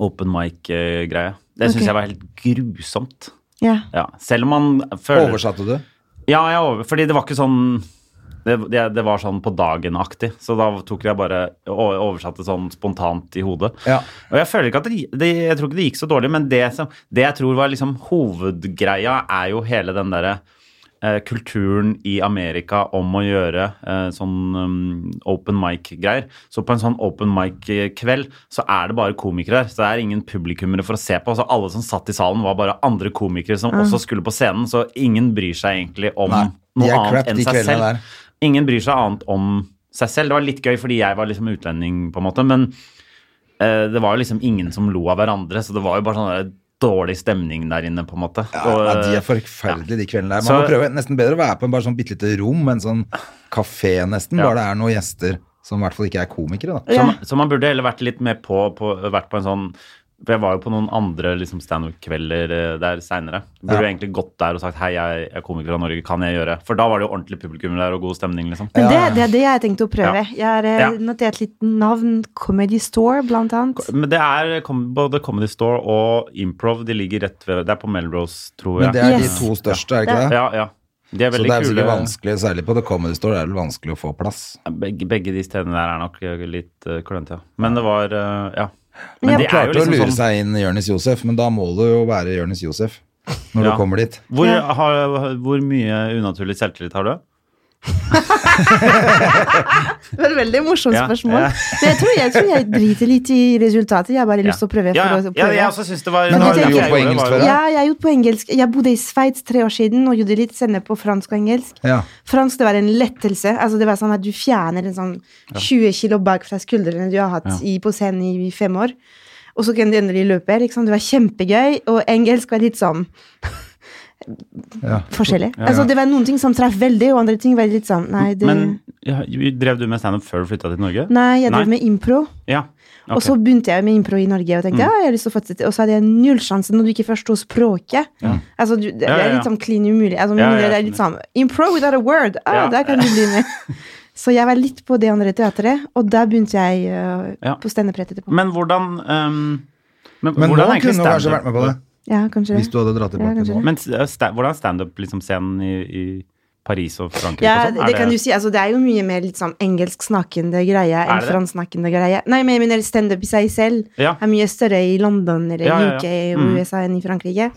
open mic-greie. Det syns
Ok.
jeg var helt grusomt.
Ja.
Ja. Selv om man føler
Oversatte du?
Ja, jeg over, fordi det var ikke sånn det, det, det var sånn på dagen-aktig, så da tok jeg bare o- oversatte sånn spontant i hodet.
Ja.
Og jeg føler ikke at det, gi- det Jeg tror ikke det gikk så dårlig, men det, som, det jeg tror var liksom hovedgreia, er jo hele den derre eh, kulturen i Amerika om å gjøre eh, sånn um, open mic-greier. Så på en sånn open mic-kveld så er det bare komikere der. Så det er ingen publikummere for å se på. Så alle som satt i salen, var bare andre komikere som også skulle på scenen. Så ingen bryr seg egentlig om
Nei, de
noe
er crap,
annet enn
de
seg
kveldene
selv.
der.
Ingen bryr seg annet om seg selv. Det var litt gøy fordi jeg var liksom utlending, på en måte. men Eh, det var jo liksom ingen som lo av hverandre, så det var jo bare sånn der dårlig stemning der inne, på en måte.
Ja,
Og,
ja,
eh,
de er forferdelige, de kveldene der. Man
Så-
må prøve nesten bedre å være på en bare sånn bitte lite rom, en sånn kafé nesten,
Ja.
bare det er noen gjester som i hvert fall ikke er komikere, da.
så, man, så man burde heller vært litt mer på, på vært på en sånn for Jeg var jo på noen andre liksom, standup-kvelder eh, der seinere. Burde
Ja.
jo egentlig gått der og sagt 'hei, jeg er komiker fra Norge, kan jeg gjøre?' For da var det jo ordentlig publikum der og god stemning, liksom.
Men det,
Ja, ja.
det er det jeg tenkte å prøve. Jeg har eh,
Ja.
notert litt navn. Comedy Store, blant annet.
Men det er kom, både Comedy Store og Improv, de ligger rett ved Det er på Melrose, tror jeg.
Men det er
Yes.
de to største, er det ikke det?
Ja, ja. De er
Så
veldig
det er jo
kule.
sikkert vanskelig, særlig på The Comedy Store, er det vel vanskelig å få plass.
Begge, begge de stedene der er nok eh, litt uh, klønete, ja. Men det var eh, Ja. Men
Men
de
jeg
er jo
Klarte å lure
sånn-
seg inn Jørnis Josef, men da må du jo være Jørnis Josef når
Ja.
du kommer dit.
Hvor,
Ja.
har, hvor mye unaturlig selvtillit har du?
Det var et veldig morsomt
Ja,
spørsmål.
ja.
Men jeg tror, jeg tror jeg driter litt i resultatet. Jeg har bare lyst til å prøve.
Ja,
For
ja.
å
ja,
prøve.
jeg også syns det var det
Men
var
jeg
det
tenker-
jeg
på
gjorde,
engelsk
var
før,
jo-
Ja, jeg har gjort på engelsk. Jeg bodde i Sveits tre år siden og gjorde litt sende på fransk og engelsk.
Ja.
Fransk det var en lettelse. Altså, det var sånn at Du fjerner en sånn 20 kilo bak fra skuldrene du har hatt i, på scenen i, i fem år. Og så kan du endelig løpe. Liksom. Det var kjempegøy. Og engelsk var litt sånn
Ja.
forskjellig. Altså, det var noen ting som traff veldig, og andre ting var litt sånn Nei, det,
Men ja, drev du med standup før du flytta til Norge?
nei jeg
nei.
drev med impro.
Ja. ok. Mm.
Og så begynte jeg med impro i Norge og tenkte ja, jeg har lyst til å fortsette. Og så hadde jeg null sjanse når du ikke forsto språket. Altså, du, det
Ja, ja,
er
ja.
litt sånn klin umulig. Altså,
Ja, ja,
det er
jeg
litt sånn Impro without a word! Ah,
Ja.
Der kan du bli med. Så jeg var litt på det andre teatret, og da begynte jeg øh,
Ja.
på standup rett etterpå.
Men hvordan ehm, Men,
Men
hvordan er
nå
egentlig
kunne du kanskje
standup-
vært med på det,
Ja, kanskje
hvis
det.
du hadde dratt
Ja,
tilbake
kanskje
nå.
Men eh, sta hvordan er standup-scenen i, i Paris og Frankrike
Ja,
og sånn?
det,
Er
kan du si. Altså, det er jo mye mer litt sånn engelsksnakkende greie
Er
enn
det det?
fransksnakkende greie. Nei, men jeg mener standup i seg selv
Ja.
er mye større i London eller
Ja, ja, ja.
UK og
Mm.
USA enn i Frankrike.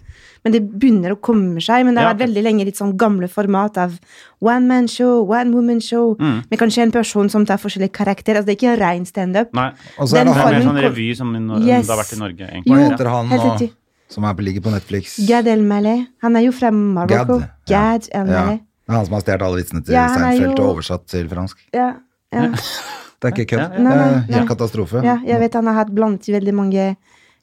Men det begynner å komme seg. Men det
Ja,
har vært
ok.
veldig lenge litt sånn gamle format av one man show, one woman show,
Mm.
med kanskje en person som tar forskjellige karakterer. Altså det er ikke rein standup.
Nei.
Og så er
Den
det
Det er
han
mer
formen
sånn
kom-
revy som i Nor-
Yes.
det har vært i Norge, egentlig.
Hva
Jo,
heter han
helt
nå,
riktig.
som er på, ligger på Netflix?
Gad Elmaleh. Han er jo fra Marokko.
Gad,
Gad
Ja.
Elmaleh.
Det er han som har stjålet alle vitsene til
Ja, han er
Seinfeld
jo-
og oversatt til fransk.
Ja. Ja.
Det er ikke kødd.
ja.
Det er
Nei, nei,
Helt
nei.
katastrofe.
ja, jeg vet han har hatt blant i veldig mange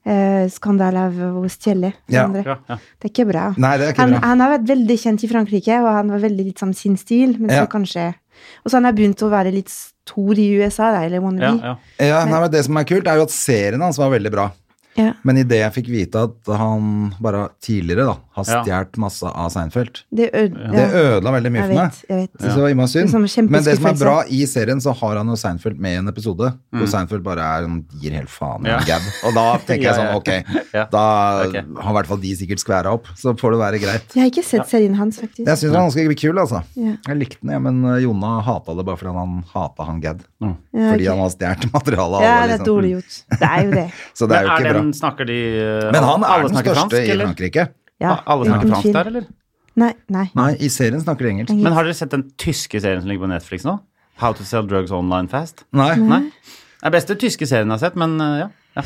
eh, skandaler av å stjele. fra
Ja.
andre.
Ja, ja.
Det er ikke bra.
Nei, det er ikke
han,
bra.
han har vært veldig kjent i Frankrike, og han var veldig litt sånn sin stil, men
Ja.
så kanskje Og så han har begynt å være litt stor i USA, da, eller wannabe.
Ja, ja.
Ja, nei, men Det som er kult, er jo at serien hans var veldig bra.
Ja.
Men idet jeg fikk vite at han bare tidligere da, har
Ja.
stjålet masse av Seinfeld,
Det, ød ja.
det ødela veldig mye
jeg
for meg.
vet, jeg vet.
Synes det var innmari
Det er sånn
synd.
kjempe
Men det som er
skuffelse.
bra i serien, så har han jo Seinfeld med i en episode. Hvor Seinfeld bare er, han gir helt faen
Mm.
i
Ja.
en gab. Og da tenker jeg
Ja,
sånn,
ja.
ok,
Ja.
da
Ok.
har i hvert fall de sikkert skværa opp. Så får det være greit.
Jeg har ikke sett serien hans, faktisk.
Jeg syns han skal bli kul, altså.
Ja.
Jeg likte den, jeg, men eh, Jonna hata det bare fordi han hata han Gad.
Mm.
Ja,
Fordi
ok.
han har stjålet materialet av
Ja,
alle,
det er
liksom.
dårlig gjort. Det er jo det.
Så det er
Men
jo
er
ikke bra.
den, snakker de eh,
Men han er
alle
den
snakker
største
fransk,
i
eller?
Frankrike.
Ja,
Alle snakker
uten
fransk
tvil.
der, eller?
Nei, nei.
Nei, i serien snakker de engelsk.
Engelsk.
Men har dere sett den tyske serien som ligger på Netflix nå? How to sell drugs online fast?
Nei,
Nei. Det er beste tyske serien jeg har sett, men eh, ja. ja.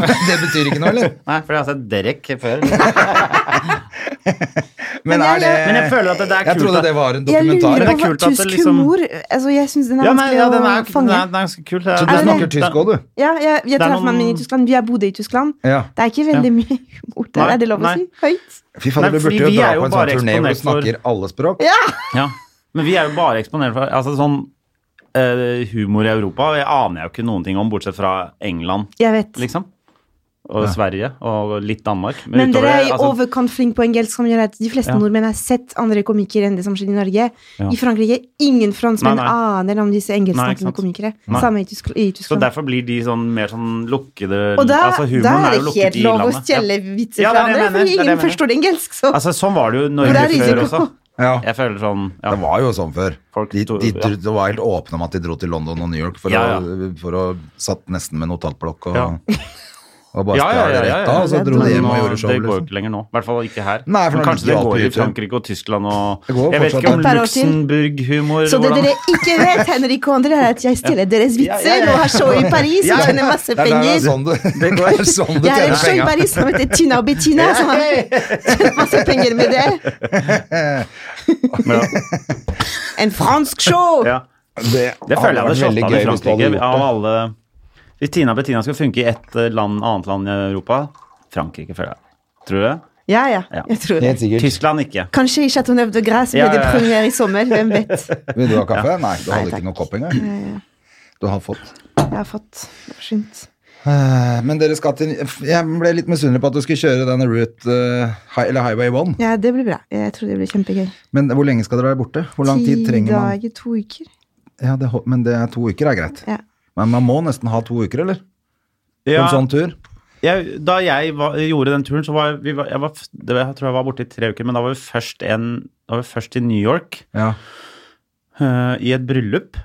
det betyr ikke noe, eller?
Nei, for jeg har sett Derek før.
Men er det
Men jeg føler at det der er
Jeg
kult,
trodde
da.
det var en
Jeg
dokumentar.
lurer
Men det er
på hva
kult at det
tysk
liksom-
humor Altså, jeg syns den er
Ja, nei,
vanskelig
ja, den er,
å
den
fange.
er, den er ganske kul.
Så du
Er det-
snakker tysk òg, du?
Ja, jeg, jeg
er
traff mannen min
noen-
i Tyskland. Vi har bodd i Tyskland.
Ja.
Det er ikke veldig mye humor der,
Nei,
er det lov å
nei.
si? Høyt.
Fy fader,
Nei,
du burde
fordi
jo
vi
dra
er jo
på en
bare
sånn turné hvor du
eksponert for-
snakker alle språk.
Ja, men vi er jo bare eksponert for altså, sånn eh, humor i Europa. og Jeg aner jo ikke noen ting om, bortsett fra England,
Jeg vet.
liksom. Og Sverige, og litt Danmark.
Men
utover
dere er
det,
i
altså-
overkant flinke på engelsk, som gjør at de fleste
Ja.
nordmenn har sett andre komikere enn det som skjer i Norge.
Ja.
I Frankrike ingen franskmenn
Nei, nei.
aner om disse
Nei, ikke
engelsksnakkende
sant.
komikere.
Nei.
Samme i, Tysk i
Så
Tyskland.
derfor blir de sånn mer sånn lukkede
og da,
altså, humoren
da
jo
er det
lukket
helt
i
lov å
landet.
stjele
Ja.
vitser
Ja, det er
fra
det jeg
andre,
mener, det er
fordi
det jeg
ingen
mener.
forstår engelsk. Så
Altså, sånn var det jo i
Hvor
Norge
er
før
risiko?
også.
Ja.
Jeg føler sånn ja.
Det var jo sånn før.
Folk
De,
sto-
de,
ja.
det var helt åpne om at de dro til London og New York for,
Ja,
Å, for å satt nesten med notatblokk og,
Ja.
og bare
Ja, ja,
stjal
ja,
det
ja,
rett
ja.
av, og så dro
Men
de hjem
nå-
og gjorde show.
Det går jo
Liksom.
ikke lenger nå. I hvert fall ikke her.
Nei, for
Men
nå
kanskje
ligger
det
alt
går
på
i
YouTube.
Frankrike og Tyskland og
Det går
Jeg vet
fortsatt.
ikke om
Et par år til.
Luxembourg-humor
Så det
hvordan-
dere ikke vet, Henrik og André, er at jeg stjeler deres vitser
Ja, ja, ja.
og har show i Paris
Ja,
og
ja.
tjener masse
Det er- Det er
penger.
sånn du, det er sånn du
Jeg har
tjener
et show i
penger.
Paris som heter Tina og Bettina, som har tjent masse penger med det.
Ja,
En fransk show!
ja.
Det,
Det føler jeg
hadde
hadde
vært
slått av
veldig
i
gøy hvis du hadde
Frankrike. Av
gjort det.
alle Hvis Tina og Bettina skulle funke i ett eh, land, annet land i Europa Frankrike, føler jeg. Tror du det?
Ja, ja,
Ja.
jeg tror det.
Helt sikkert.
Tyskland ikke.
Kanskje i Chateau Neuf de Grasse ble
Ja, ja,
det
ja.
premiere i sommer, hvem vet.
Vil du ha kaffe? Nei, du hadde
Nei,
ikke
takk.
noe kopp engang.
Eh,
Du har fått.
Jeg har fått det var skynt.
Eh, Men dere skal til Jeg ble litt misunnelig på at du skulle kjøre denne Route eh, hi- eller Highway 1.
Ja, det blir bra. Jeg tror det blir kjempegøy.
Men hvor lenge skal dere være borte? Hvor lang tid trenger man?
dager, to uker.
Ja, det, hol- men det er to uker er greit.
Ja.
Men man må nesten ha to uker, eller? På
Ja,
en sånn tur?
jeg, da jeg var, gjorde den turen, så var vi var- jeg, var, det, var- jeg tror jeg var borte i tre uker, men da var vi først, en, da var vi først i New York
Ja.
eh, i et bryllup.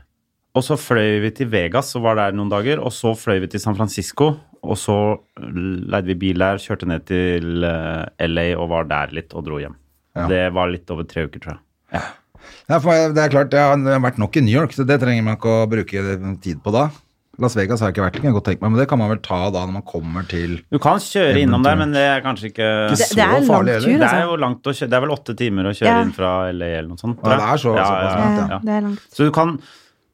Og så fløy vi til Vegas og var der noen dager, og så fløy vi til San Francisco. Og så leide vi bil der, kjørte ned til eh, LA og var der litt og dro hjem.
Ja.
Det var litt over tre uker, tror jeg.
Ja, for jeg- det er klart, jeg har jeg har vært nok i New York, så det trenger man ikke å bruke tid på da. Las Vegas har jeg ikke vært, det kan jeg godt tenke meg, men det kan man vel ta da når man kommer til
Du kan kjøre innom der, men det er kanskje ikke
Det-
Det, det er en
Så
lang
farlig,
tur,
Det er
altså.
jo langt å kjøre, det er vel åtte timer å kjøre
Ja.
inn fra LA eller noe sånt.
Ja,
tror jeg.
det er så- såpass
Ja,
langt,
ja, det er langt.
Så du kan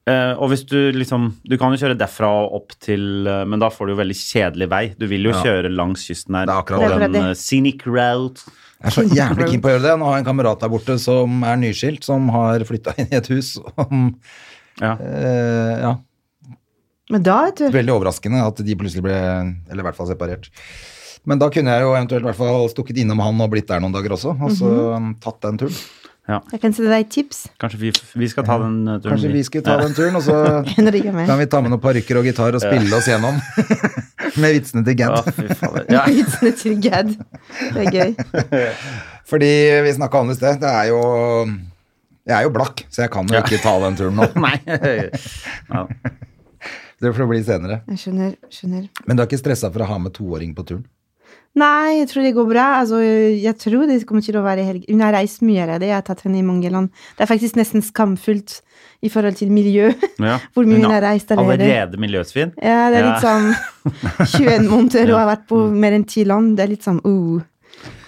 eh, Og hvis du liksom Du kan jo kjøre derfra og opp til eh, Men da får du jo veldig kjedelig vei. Du vil jo
Ja.
kjøre langs kysten her.
Det er
på
akkurat
det.
den
Det er
eh, scenic route.
Jeg er så jævlig keen på å gjøre det. Nå har jeg en kamerat der borte som er nyskilt, som har flytta inn i et hus. Som,
Ja.
eh, ja,
Men da, vet du.
Veldig overraskende at de plutselig ble Eller i hvert fall separert. Men da kunne jeg jo eventuelt i hvert fall stukket innom han og blitt der noen dager også, og så
Mhm.
um, tatt den turen.
Jeg kan sende deg et tips.
Kanskje vi, vi skal ta den eh, turen.
Kanskje vi skal ta den turen, og så
Henrik er med.
Kan vi ta med noen parykker og gitar og spille oss gjennom med vitsene til
Ja,
Gant?
fy fader. Ja.
Vitsene til Gad. Det er gøy.
Fordi vi snakka om det i sted. Det er jo Jeg er jo blakk, så jeg kan jo ikke ta den turen nå.
Nei. Ja.
Det får bli senere.
Jeg skjønner. skjønner.
Men du er ikke stressa for å ha med toåring på turen?
Nei, jeg tror det går bra. Altså, jeg tror det kommer til å være helg. Hun har reist mye av det. Jeg har tatt henne i mange land. Det er faktisk nesten skamfullt i forhold til miljø.
Ja.
Hvor mye
Hun
hun
har
har reist allerede.
Allerede miljøsvin?
Ja, det er
Ja.
litt sånn 21 måneder og har vært på mer enn 10 land. Det er litt sånn uh.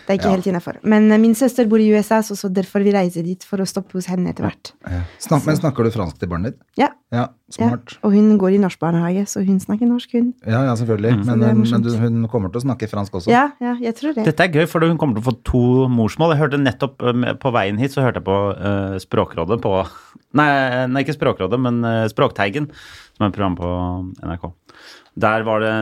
Det er ikke
Ja.
helt innafor. Men eh, min søster bor i USA, så, så derfor vi reiser dit for å stoppe hos henne etter hvert.
Snak, men snakker du fransk til barnet ditt?
Ja,
Ja,
ja.
smart.
Og hun går i norsk barnehage, så hun snakker norsk, hun.
Ja, ja, selvfølgelig. Men,
Mm. det er
men
morsomt.
du, hun kommer til å snakke fransk også.
Ja, ja, jeg tror det.
Dette er gøy, for hun kommer til å få to morsmål. Jeg hørte nettopp eh, med- På veien hit så hørte jeg på eh, Språkrådet på Nei, nei, ikke Språkrådet, men eh, Språkteigen, som er et program på NRK. Der var det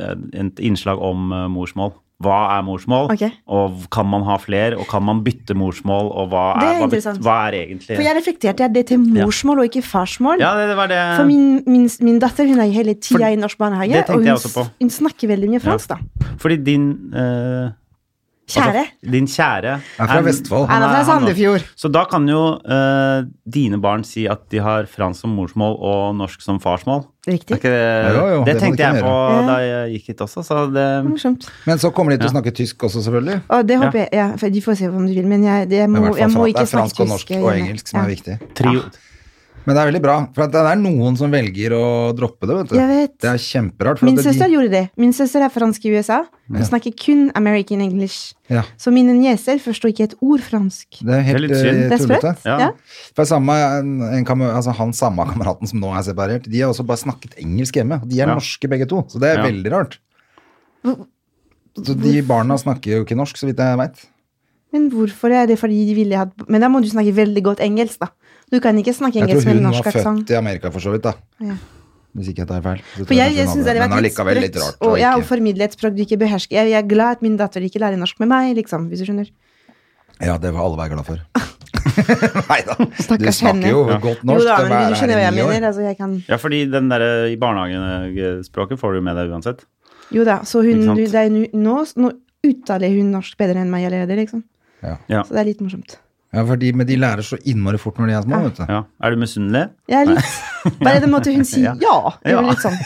eh, et innslag om eh, morsmål. Hva er morsmål,
Ok.
og kan man ha fler, og kan man bytte morsmål, og hva
Det
er,
er
hva, bet-
interessant.
hva er egentlig
For jeg reflekterte at det er til morsmål og ikke farsmål.
Ja, det, det var det
For min, min, min datter hun er hele tida i norsk barnehage,
det tenkte
og hun,
jeg også på.
s- hun snakker veldig mye fransk, da.
Fordi din eh,
Kjære.
Altså, din kjære
Er fra Vestfold.
Han er fra
han også.
Sandefjord.
Så da kan jo eh, dine barn si at de har fransk som morsmål og norsk som farsmål. Er
Riktig.
ikke det,
Jo, jo,
det,
det må du
tenkte
kunne
jeg på
gjøre.
da jeg gikk hit også, så det
Morsomt.
Men så kommer de til å snakke tysk også, selvfølgelig.
Og det håper jeg ja, for De får se om de vil, men jeg, det
Men i
må,
hvert
jeg
fall
må
fra- det
ikke
er fransk
snakke
og norsk
tysk.
og engelsk som er viktig.
trio,
Men det er veldig bra, for at det er noen som velger å droppe det, vet du.
Jeg vet.
Det er kjemperart. For
Min
at de-
søster gjorde det. Min søster er fransk i USA. Hun snakker kun American English.
Ja,
Så mine nieser forstår ikke et ord fransk.
det er helt
Det er litt synd.
eh,
Det er
tullete.
sprøtt.
Ja.
Ja.
For samme, en, en, kamer- altså han samme kameraten som nå er separert, de har også bare snakket engelsk hjemme. og De er
Ja.
norske begge to, så det er
Ja.
veldig rart. Så de barna snakker jo ikke norsk, så vidt jeg veit.
Men hvorfor er det fordi de ville hatt Men da må du snakke veldig godt engelsk, da. Du kan ikke snakke
Jeg tror
engelsk med
hun
en
var
norsk aksent.
født i Amerika, for så vidt, da.
Ja.
Hvis ikke jeg tar feil. Så tror
For jeg,
kanskje
jeg
hun
synes
hadde-
det
men
hadde vært litt
allikevel litt
sprøtt
rart. å
å- ja, å
ikke-
formidle et språk du ikke behersker. Jeg, jeg er glad at min datter ikke lærer norsk med meg, liksom, hvis du skjønner.
Ja, det var alle være glad for. Nei da. Du
Stakkars
snakker
henne.
jo godt
Jo
norsk.
da,
det
men
var
du skjønner hva
her
jeg
i ni
mener.
år.
Altså, jeg kan
ja, fordi den der i barnehagespråket får du med deg uansett.
Jo da, så hun,
Ikke sant?
det er, nu- nå, nå uttaler hun norsk bedre enn meg allerede, liksom.
Ja.
Ja.
Så det er litt morsomt.
Ja, for de, men de lærer så innmari fort når de er små, vet du.
Ja. Er du misunnelig?
Jeg er litt Bare den måten hun sier
Ja.
ja. Det er
Ja.
litt sånn.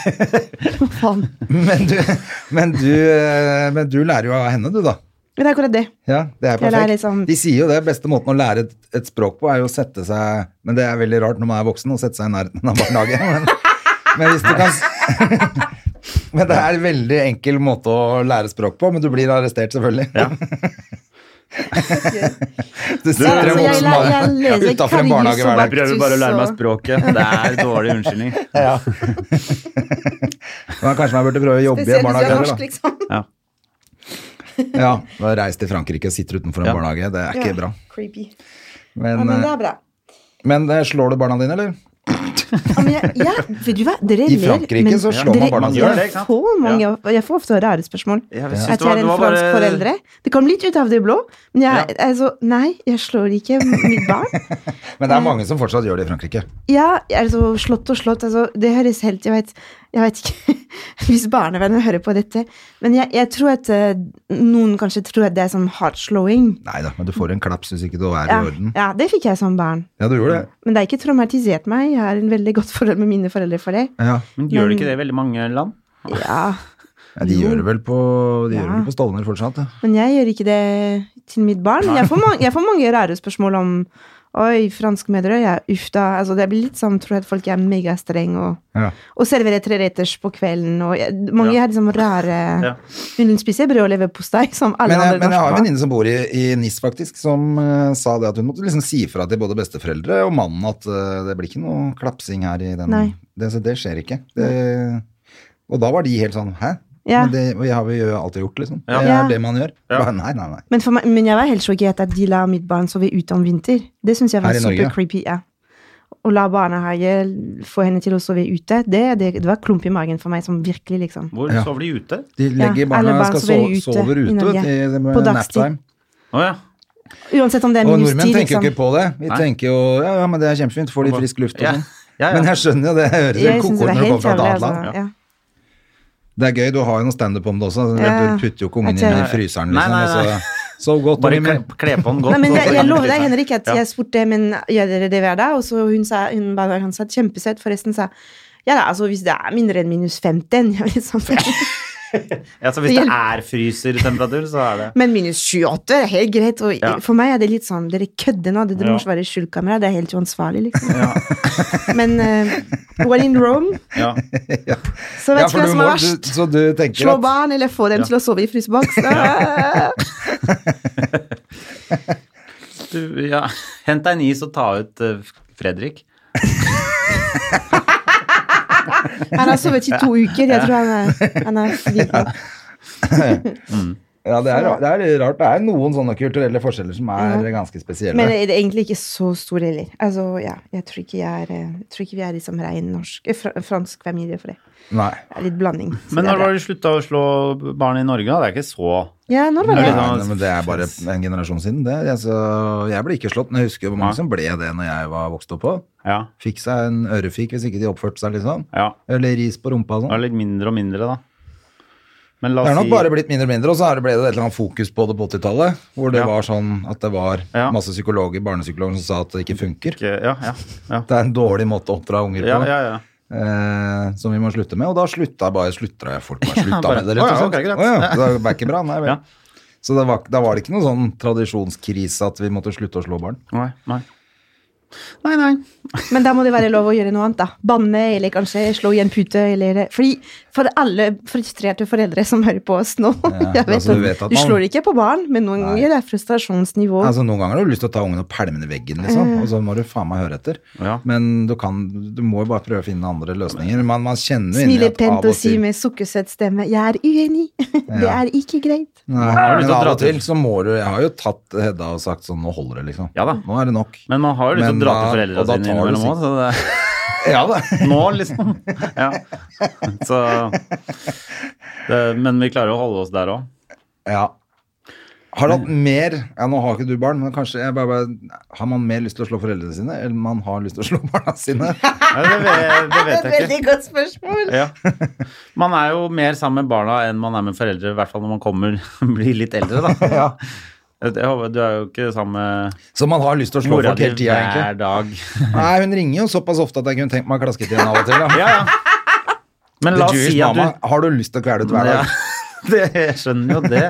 Hva faen.
Men du, men du, eh, men du lærer jo av henne, du, da.
Men det er akkurat det.
Ja, det er
Jeg
perfekt.
lærer liksom-
De sier jo det. Beste måten å lære et, et språk på, er jo å sette seg Men det er veldig rart når man er voksen, å sette seg i nærheten av barnehage. Men, men hvis du kan Men det er en veldig enkel måte å lære språk på, men du blir arrestert, selvfølgelig.
Ja.
Du
Ja,
sitter i en
altså, jeg
voksen
læ- jeg
mann
leser
utafor en barnehage hver dag.
Karius og
Prøver bare å lære meg språket. Det er dårlig unnskyldning.
Ja. Men kanskje man burde prøve å jobbe i en barnehage heller, da.
liksom.
Ja.
Ja, da Reis til Frankrike og sitter utenfor en
Ja.
barnehage. Det er ikke
Ja,
bra.
Creepy. Ja,
Men,
men det
eh,
er bra.
men eh, slår du barna dine, eller?
Ja, men jeg, ja, vet du hva? Dere
I Frankrike
men
så slår
dere-
man barna
sine. Gjør det,
Jeg
ikke sant?
får, mange, jeg får ofte rare spørsmål.
Jeg synes
At
det var-
jeg er
det
en
var
fransk
bare-
foreldre. Det kom litt ut av det blå. Men jeg, altså, nei, jeg slår ikke mitt barn.
Men det
Mm.
er mange som fortsatt gjør det i Frankrike.
Ja, altså, slått og slått. Altså, det høres helt Jeg vet, jeg vet ikke hvis barnevernet hører på dette. Men jeg, jeg tror at eh, noen kanskje tror at det er sånn hardslowing.
Nei da, men du får en klaps hvis ikke du er
Ja,
i orden.
ja, det fikk jeg som barn.
Ja, du gjorde det.
Men det har ikke traumatisert meg. Jeg har en veldig godt forhold med mine foreldre for det.
Ja,
Men gjør det ikke det i veldig mange land?
Ja,
ja De gjør det vel på, de gjør det
Ja.
vel på Stovner fortsatt, ja.
Men jeg gjør ikke det til mitt barn. Jeg får, mange, jeg får mange rare spørsmål om Oi, franskmødre, ja, uff da. Altså, det blir litt sånn, tror jeg, at folk er megastrenge og,
Ja.
og serverer treretters på kvelden. Og jeg, mange
Ja.
er liksom rare
Ja.
Hun spiser brød og leverpostei, som alle
Men jeg,
andre
men jeg har en
norske barn.
venninne som bor i, i NIS, faktisk, som eh, sa det at hun måtte liksom si fra til både besteforeldre og mannen at eh, det blir ikke noe klapsing her i den
Nei.
det, så det skjer ikke. Det, og da var de helt sånn hæ?
Ja.
Men det og jeg har vi jo alltid gjort, liksom.
Ja.
Det
Ja.
er det man gjør.
Ja.
Bare, nei, nei, nei.
Men, for meg, men jeg var helt sjokkert at de la mitt barn sove ute om vinter. Det syns jeg var
Her i Norge,
super creepy. ja. Å la barnehage få henne til å sove ute, det, det, det var klump i magen for meg, som virkelig, liksom.
Hvor
Ja.
sover de ute?
De legger barna
alle barn
skal
sover
sove,
ute
sover
i
ute
Norge.
vet du, i-
På
i
dagstid.
naptime.
Å ja.
Uansett om det er
Og
minus
nordmenn
ti,
tenker jo
liksom.
ikke på det. Vi
Nei.
tenker jo ja, ja, men det er kjempefint, får de frisk luft og
Ja.
sånn.
Ja, ja.
Men jeg skjønner jo det. Jeg hører det
Jeg syns
koko når
det var
det kommer
helt
fra et
jævlig.
annet land.
Altså. Ja.
Det er gøy, du har jo noe standup om det også. Du
Ja.
putter jo ikke ungen
Jeg
inn i
tør-
fryseren,
Nei,
liksom.
nei, nei.
og Så, sov godt,
Bare
Jimmy.
kle, kle på den godt.
Nei, men
og
jeg,
så
jeg
kan du
lover deg,
fryse.
Henrik, at
Ja.
jeg spurte men gjør dere det hver dag. Og så hun sa, hun bare, han sa kjempesøt, forresten sa ja da, altså hvis det er mindre enn minus 15, ja, liksom.
Ja, så hvis det er frysertemperatur, så er det
men minus 28 er helt greit. Og
Ja.
for meg er det litt sånn, dere kødder nå, det dere
Ja.
må ikke være i skjulkamera, det er helt uansvarlig, liksom. men uh, when in Rome,
Ja.
så vet
Ja,
ikke
for
hva
du
som
må, du,
er verst.
så du tenker
Slå
at
barn eller få dem til å sove i fryseboks. Ah.
Du, ja. Hent deg en is og ta ut eh, Fredrik.
Han har sovet i to uker, jeg tror han er, han er sliten.
eh, Ja, det er, ra- det er litt rart. Det er noen sånne kulturelle forskjeller som er ganske spesielle.
Men det er egentlig ikke så stor heller. Altså, ja, jeg tror ikke, jeg er, eh, jeg tror ikke vi er liksom rein norsk, eh, fra- fransk familie for det.
Nei.
Det er litt blanding. så
Men
det er
når
bra.
var det slutta å slå barn i Norge, da? Det er ikke så
Ja, når var
Når
det?
det da-
Nei, nei, men det er bare en generasjon siden. Det, jeg, så, jeg ble ikke slått, men jeg husker jo hvor mange som ble det når jeg var vokst opp på.
Ja.
Fikk seg en ørefik hvis ikke de oppførte seg, liksom.
ja.
Eller ris på rumpa og
Det er
sånn.
litt mindre og mindre, da. Men la
Det er
oss
nok
si
bare blitt mindre og mindre, og så er det- ble det et eller annet fokus på det på 80-tallet, hvor det
Ja.
var sånn at det var
Ja.
masse psykologer, barnepsykologer, som sa at det ikke funker.
ikke Ja, ja. Ja,
Det er en dårlig måte å oppdra unger på,
ja. ja, ja.
Eh, som vi må slutte med. Og da slutta bare slutta jeg folk bare slutta
bare,
med det,
«Å
rett og
ja,
slett.
ok, greit».
«Å ja, det er ikke bra, nei vel.
Ja.
Så det var, da var det ikke noen sånn tradisjonskrise at vi måtte slutte å slå barn.
Nei, nei. Nei, nei.
Men da må det være lov å gjøre noe annet, da. Banne, eller kanskje slå i en pute, eller eh, Fordi for alle frustrerte foreldre som hører på oss nå jeg vet,
altså, du
at-
vet at
du
man-
slår ikke på barn, men noen ganger det er frustrasjonsnivå.
Altså, noen ganger har du lyst til å ta ungen og pælme den i veggen, liksom.
Eh.
Og så må du faen meg høre etter.
Ja.
Men du, kan, du må jo bare prøve å finne andre løsninger. Man, man kjenner jo inni
Smile
at av
pent og
og
si
til
med sukkersøt stemme 'Jeg er uenig'. Det
Ja.
er ikke greit.
Nei,
har du lyst til
men
å
av
dra
og til
til.
så må du Jeg har jo tatt Hedda og sagt sånn Nå holder det, liksom.
Ja da.
Nå er det nok.
Men man har jo lyst til å
Men
dra
da-
til
og
foreldra
da
sine
tar du
innimellom òg, så det
Ja da.
Nå, liksom. Ja. Så det, Men vi klarer å holde oss der òg.
Ja. Har du hatt mer Ja, nå har ikke du barn, men kanskje jeg bare, bare, Har man mer lyst til å slå foreldrene sine, eller man har lyst til å slå barna sine?
Ja, det, vet- det vet jeg ikke.
godt spørsmål.
Ja. Man er jo mer sammen med barna enn man er med foreldre, i hvert fall når man kommer blir litt eldre, da.
Ja.
Jeg håper- Du er jo ikke sammen med
Så man har lyst til å slå
mora
folk
di
hele tida,
hver
egentlig.
dag.
Nei, hun ringer jo såpass ofte at jeg kunne tenkt meg å klaske til henne av og til. Da.
Ja, ja. Men la oss
The Jewish
si at du
mama, har du lyst til å kvele ut hver
Ja,
dag?
det, jeg skjønner jo det.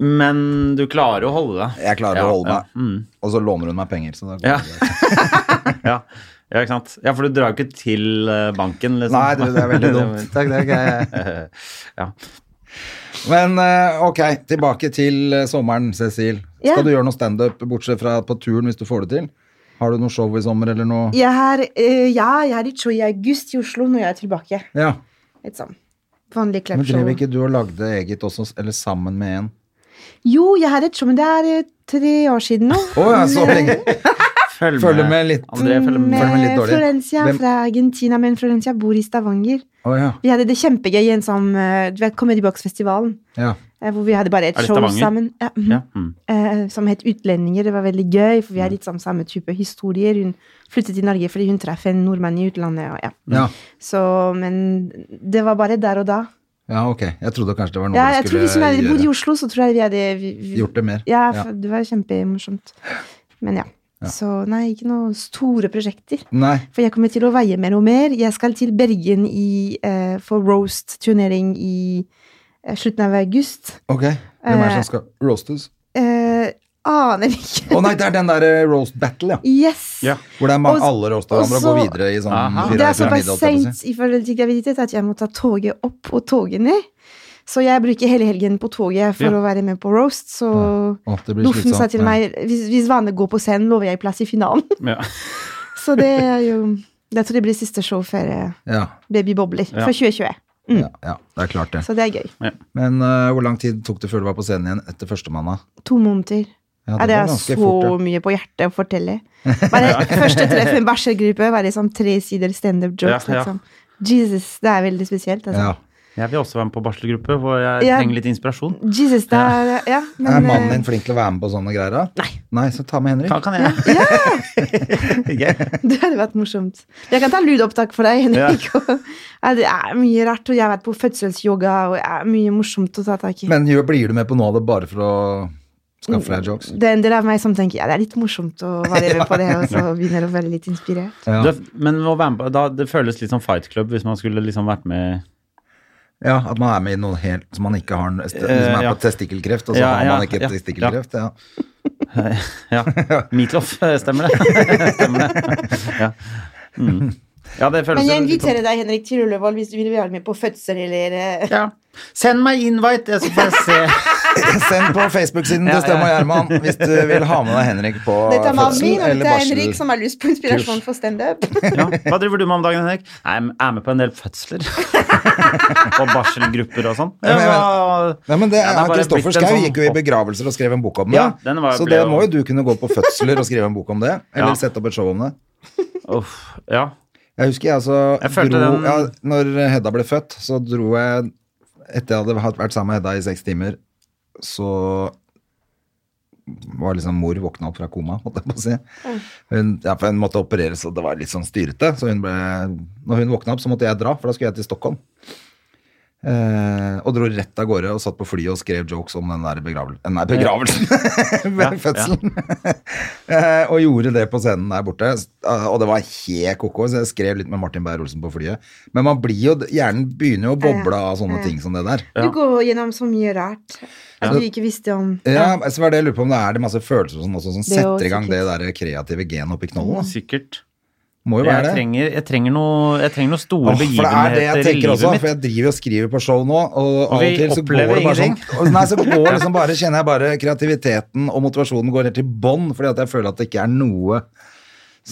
Men du klarer å holde deg.
Jeg klarer
Ja,
å holde
ja, Mm.
meg. Og så låner hun meg penger. Så da går
Ja.
det greit.
Ja. ja, ikke sant. Ja, for du drar jo ikke til eh, banken, liksom.
Nei, du, det er veldig dumt. Takk, det er ikke-
ja.
Men eh, ok, tilbake til eh, sommeren, Cecil.
Ja.
Skal du gjøre noe standup bortsett fra på turen, hvis du får det til? Har du noe show i sommer, eller noe?
Jeg er, eh, ja, jeg er i show i august i Oslo når jeg er tilbake.
Ja.
Litt sånn vanlig
Men
klappshow.
driver ikke du og lagde eget også, eller sammen med en?
Jo, jeg hadde et show, men det er eh, tre år siden nå.
Å ja, så lenge!
Følg,
Følger med litt.
André, følg med.
Følg med litt
Med
dårlig.
eh, Florencia
Hvem-
fra Argentina, men Florencia bor i Stavanger.
Å ja.
Vi hadde det kjempegøy i en sånn eh, du vet, Comedy Box-festivalen,
ja.
eh, hvor vi hadde bare
Er
et
det
show
Stavanger?
sammen. Ja, mhm.
Ja. Mm.
eh, som het Utlendinger. Det var veldig gøy, for vi har litt sånn samme type historier. Hun flyttet til Norge fordi hun traff en nordmann i utlandet. Og, ja.
ja.
Så, men det var bare der og da.
Ja, ok. Jeg trodde kanskje det var noe
Ja, jeg
du
tror
skulle
Hvis hun hadde bodd i
gjøre.
Oslo, så tror jeg vi hadde vi, vi,
Gjort det mer.
Ja,
Ja.
for det var kjempemorsomt. Men ja. Så nei, ikke noen store prosjekter.
Nei.
For jeg kommer til å veie mer og mer. Jeg skal til Bergen i, eh, for roast-turnering i eh, slutten av august.
Ok. Hvem er det som skal roastes?
Eh, aner ikke.
Å nei, det er den der eh, roast battle, ja.
Yes!
Ja.
Hvor det er mange,
Og-
alle roaster hverandre og
og
går
så-
videre i sånn
Aha.
fire
Det er
etter
såpass
middag, holdt jeg på å
seint
si.
i forhold til graviditet at jeg må ta toget opp og toget ned. Så jeg bruker hele helgen på toget for
Ja.
å være med på roast. Så
Å, det blir
Doffen sa
slitsomt,
til
ja.
meg hvis, hvis Vane går på scenen, lover jeg plass i finalen.
Ja.
Så det er jo Jeg tror det blir siste show før eh,
Ja,
Baby Bobler
Ja.
for 2020.
ja, ja, det er klart det.
Så det er gøy.
Men eh, hvor lang tid tok det før du var på scenen igjen etter førstemann? da?
To måneder.
Ja,
Ja, det,
var
er
ganske
så
fort, ja.
mye på hjertet å fortelle. Bare første treff med barselgruppe var liksom tre sider standup
Ja,
jokes.
ja.
Liksom. Jesus, det er veldig spesielt. Altså.
Ja.
Jeg vil også være med på barselgruppe, hvor jeg
Ja.
trenger litt inspirasjon.
Jesus, det er, ja, men,
Er mannen
eh,
din flink til å være med på sånne greier? da? Nei. Nei, Så ta med Henrik.
Kan, kan jeg?
eh, Det hadde vært morsomt. Jeg kan ta lydopptak for deg, Henrik. Ja, det er mye rart, og jeg har vært på fødselsyoga, og det er mye morsomt å ta tak i.
Men gjør- blir du med på noe av det bare for å skaffe deg jokes?
det er en del av meg som tenker ja, det er litt morsomt å være med på det, og så begynner å være litt inspirert.
Ja.
Du, men å være med på, da, det føles litt som Fight Club hvis man skulle liksom vært med
Ja, At man er med i noe helt som man ikke har en- Hvis man er
Eh, ja.
på testikkelkreft, og så
Ja,
har
ja,
man ikke
ja,
testikkelkreft. Ja.
Ja. Meatloaf, eh, stemmer det? stemmer det. Ja. Mm. ja, det føles jo
Men jeg
litt sånn.
inviterer deg, Henrik, til Ullevål hvis du vil være med på fødsel eller eh,
ja. Send meg invite, jeg skal bare se.
Send på Facebook-siden til Stem og Gjerman hvis du vil ha med deg Henrik på
Dette er mannen
fødsel
min, og
eller
dette er Henrik
barsel.
som har lyst på inspirasjon for standup.
Ja. Hva driver du med om dagen, Henrik? Nei, Jeg er med på en del fødsler. og barselgrupper og sånn.
Ja, men-
Ja,
Nei, men
Ja,
det
det er
er
bare
Kristoffer
blitt en
Schau
sånn-
gikk jo i begravelser og skrev en bok om det.
Ja, den var-
så
ble
det
jo-
må jo du kunne gå på fødsler og skrive en bok om det. Eller
Ja.
sette opp et show om det.
uff, ja.
Jeg husker jeg altså
Jeg følte
dro,
den-
ja, Når Hedda ble født, så dro jeg Etter jeg hadde hatt- vært sammen med Hedda i seks timer, så var liksom mor våkna opp fra koma, holdt jeg på å si. Hun, ja, for hun måtte opereres, og det var litt sånn styrete. Så hun ble, når hun våkna opp, så måtte jeg dra, for da skulle jeg til Stockholm. Eh, og dro rett av gårde og satt på flyet og skrev jokes om den der begravel eh, nei, begravelsen. Ved fødselen. Eh, og gjorde det på scenen der borte. S- eh, Og det var helt ko-ko, så jeg skrev litt med Martin Beyer-Olsen på flyet. Men man blir jo, hjernen begynner jo å boble av sånne ting som det der.
Du går gjennom så mye rart at du ikke visste om.
Ja, så var det jeg lurer på om det er det masse følelser og sånn også, som
Det er jo
setter i gang det
sikkert.
der kreative genet oppi knollen. da.
Sikkert.
Må jo
Jeg
være det.
trenger, jeg trenger, noe, jeg trenger noen store
Åh, for det er det
begivenheter
jeg
i
tenker
livet
også,
mitt.
for jeg driver og skriver på show nå, og,
Og
av
vi
og til så går det
opplever
bare sånn.
ingenting.
Nei, så går liksom bare, kjenner jeg bare kreativiteten og motivasjonen går helt til bånn, fordi at jeg føler at det ikke er noe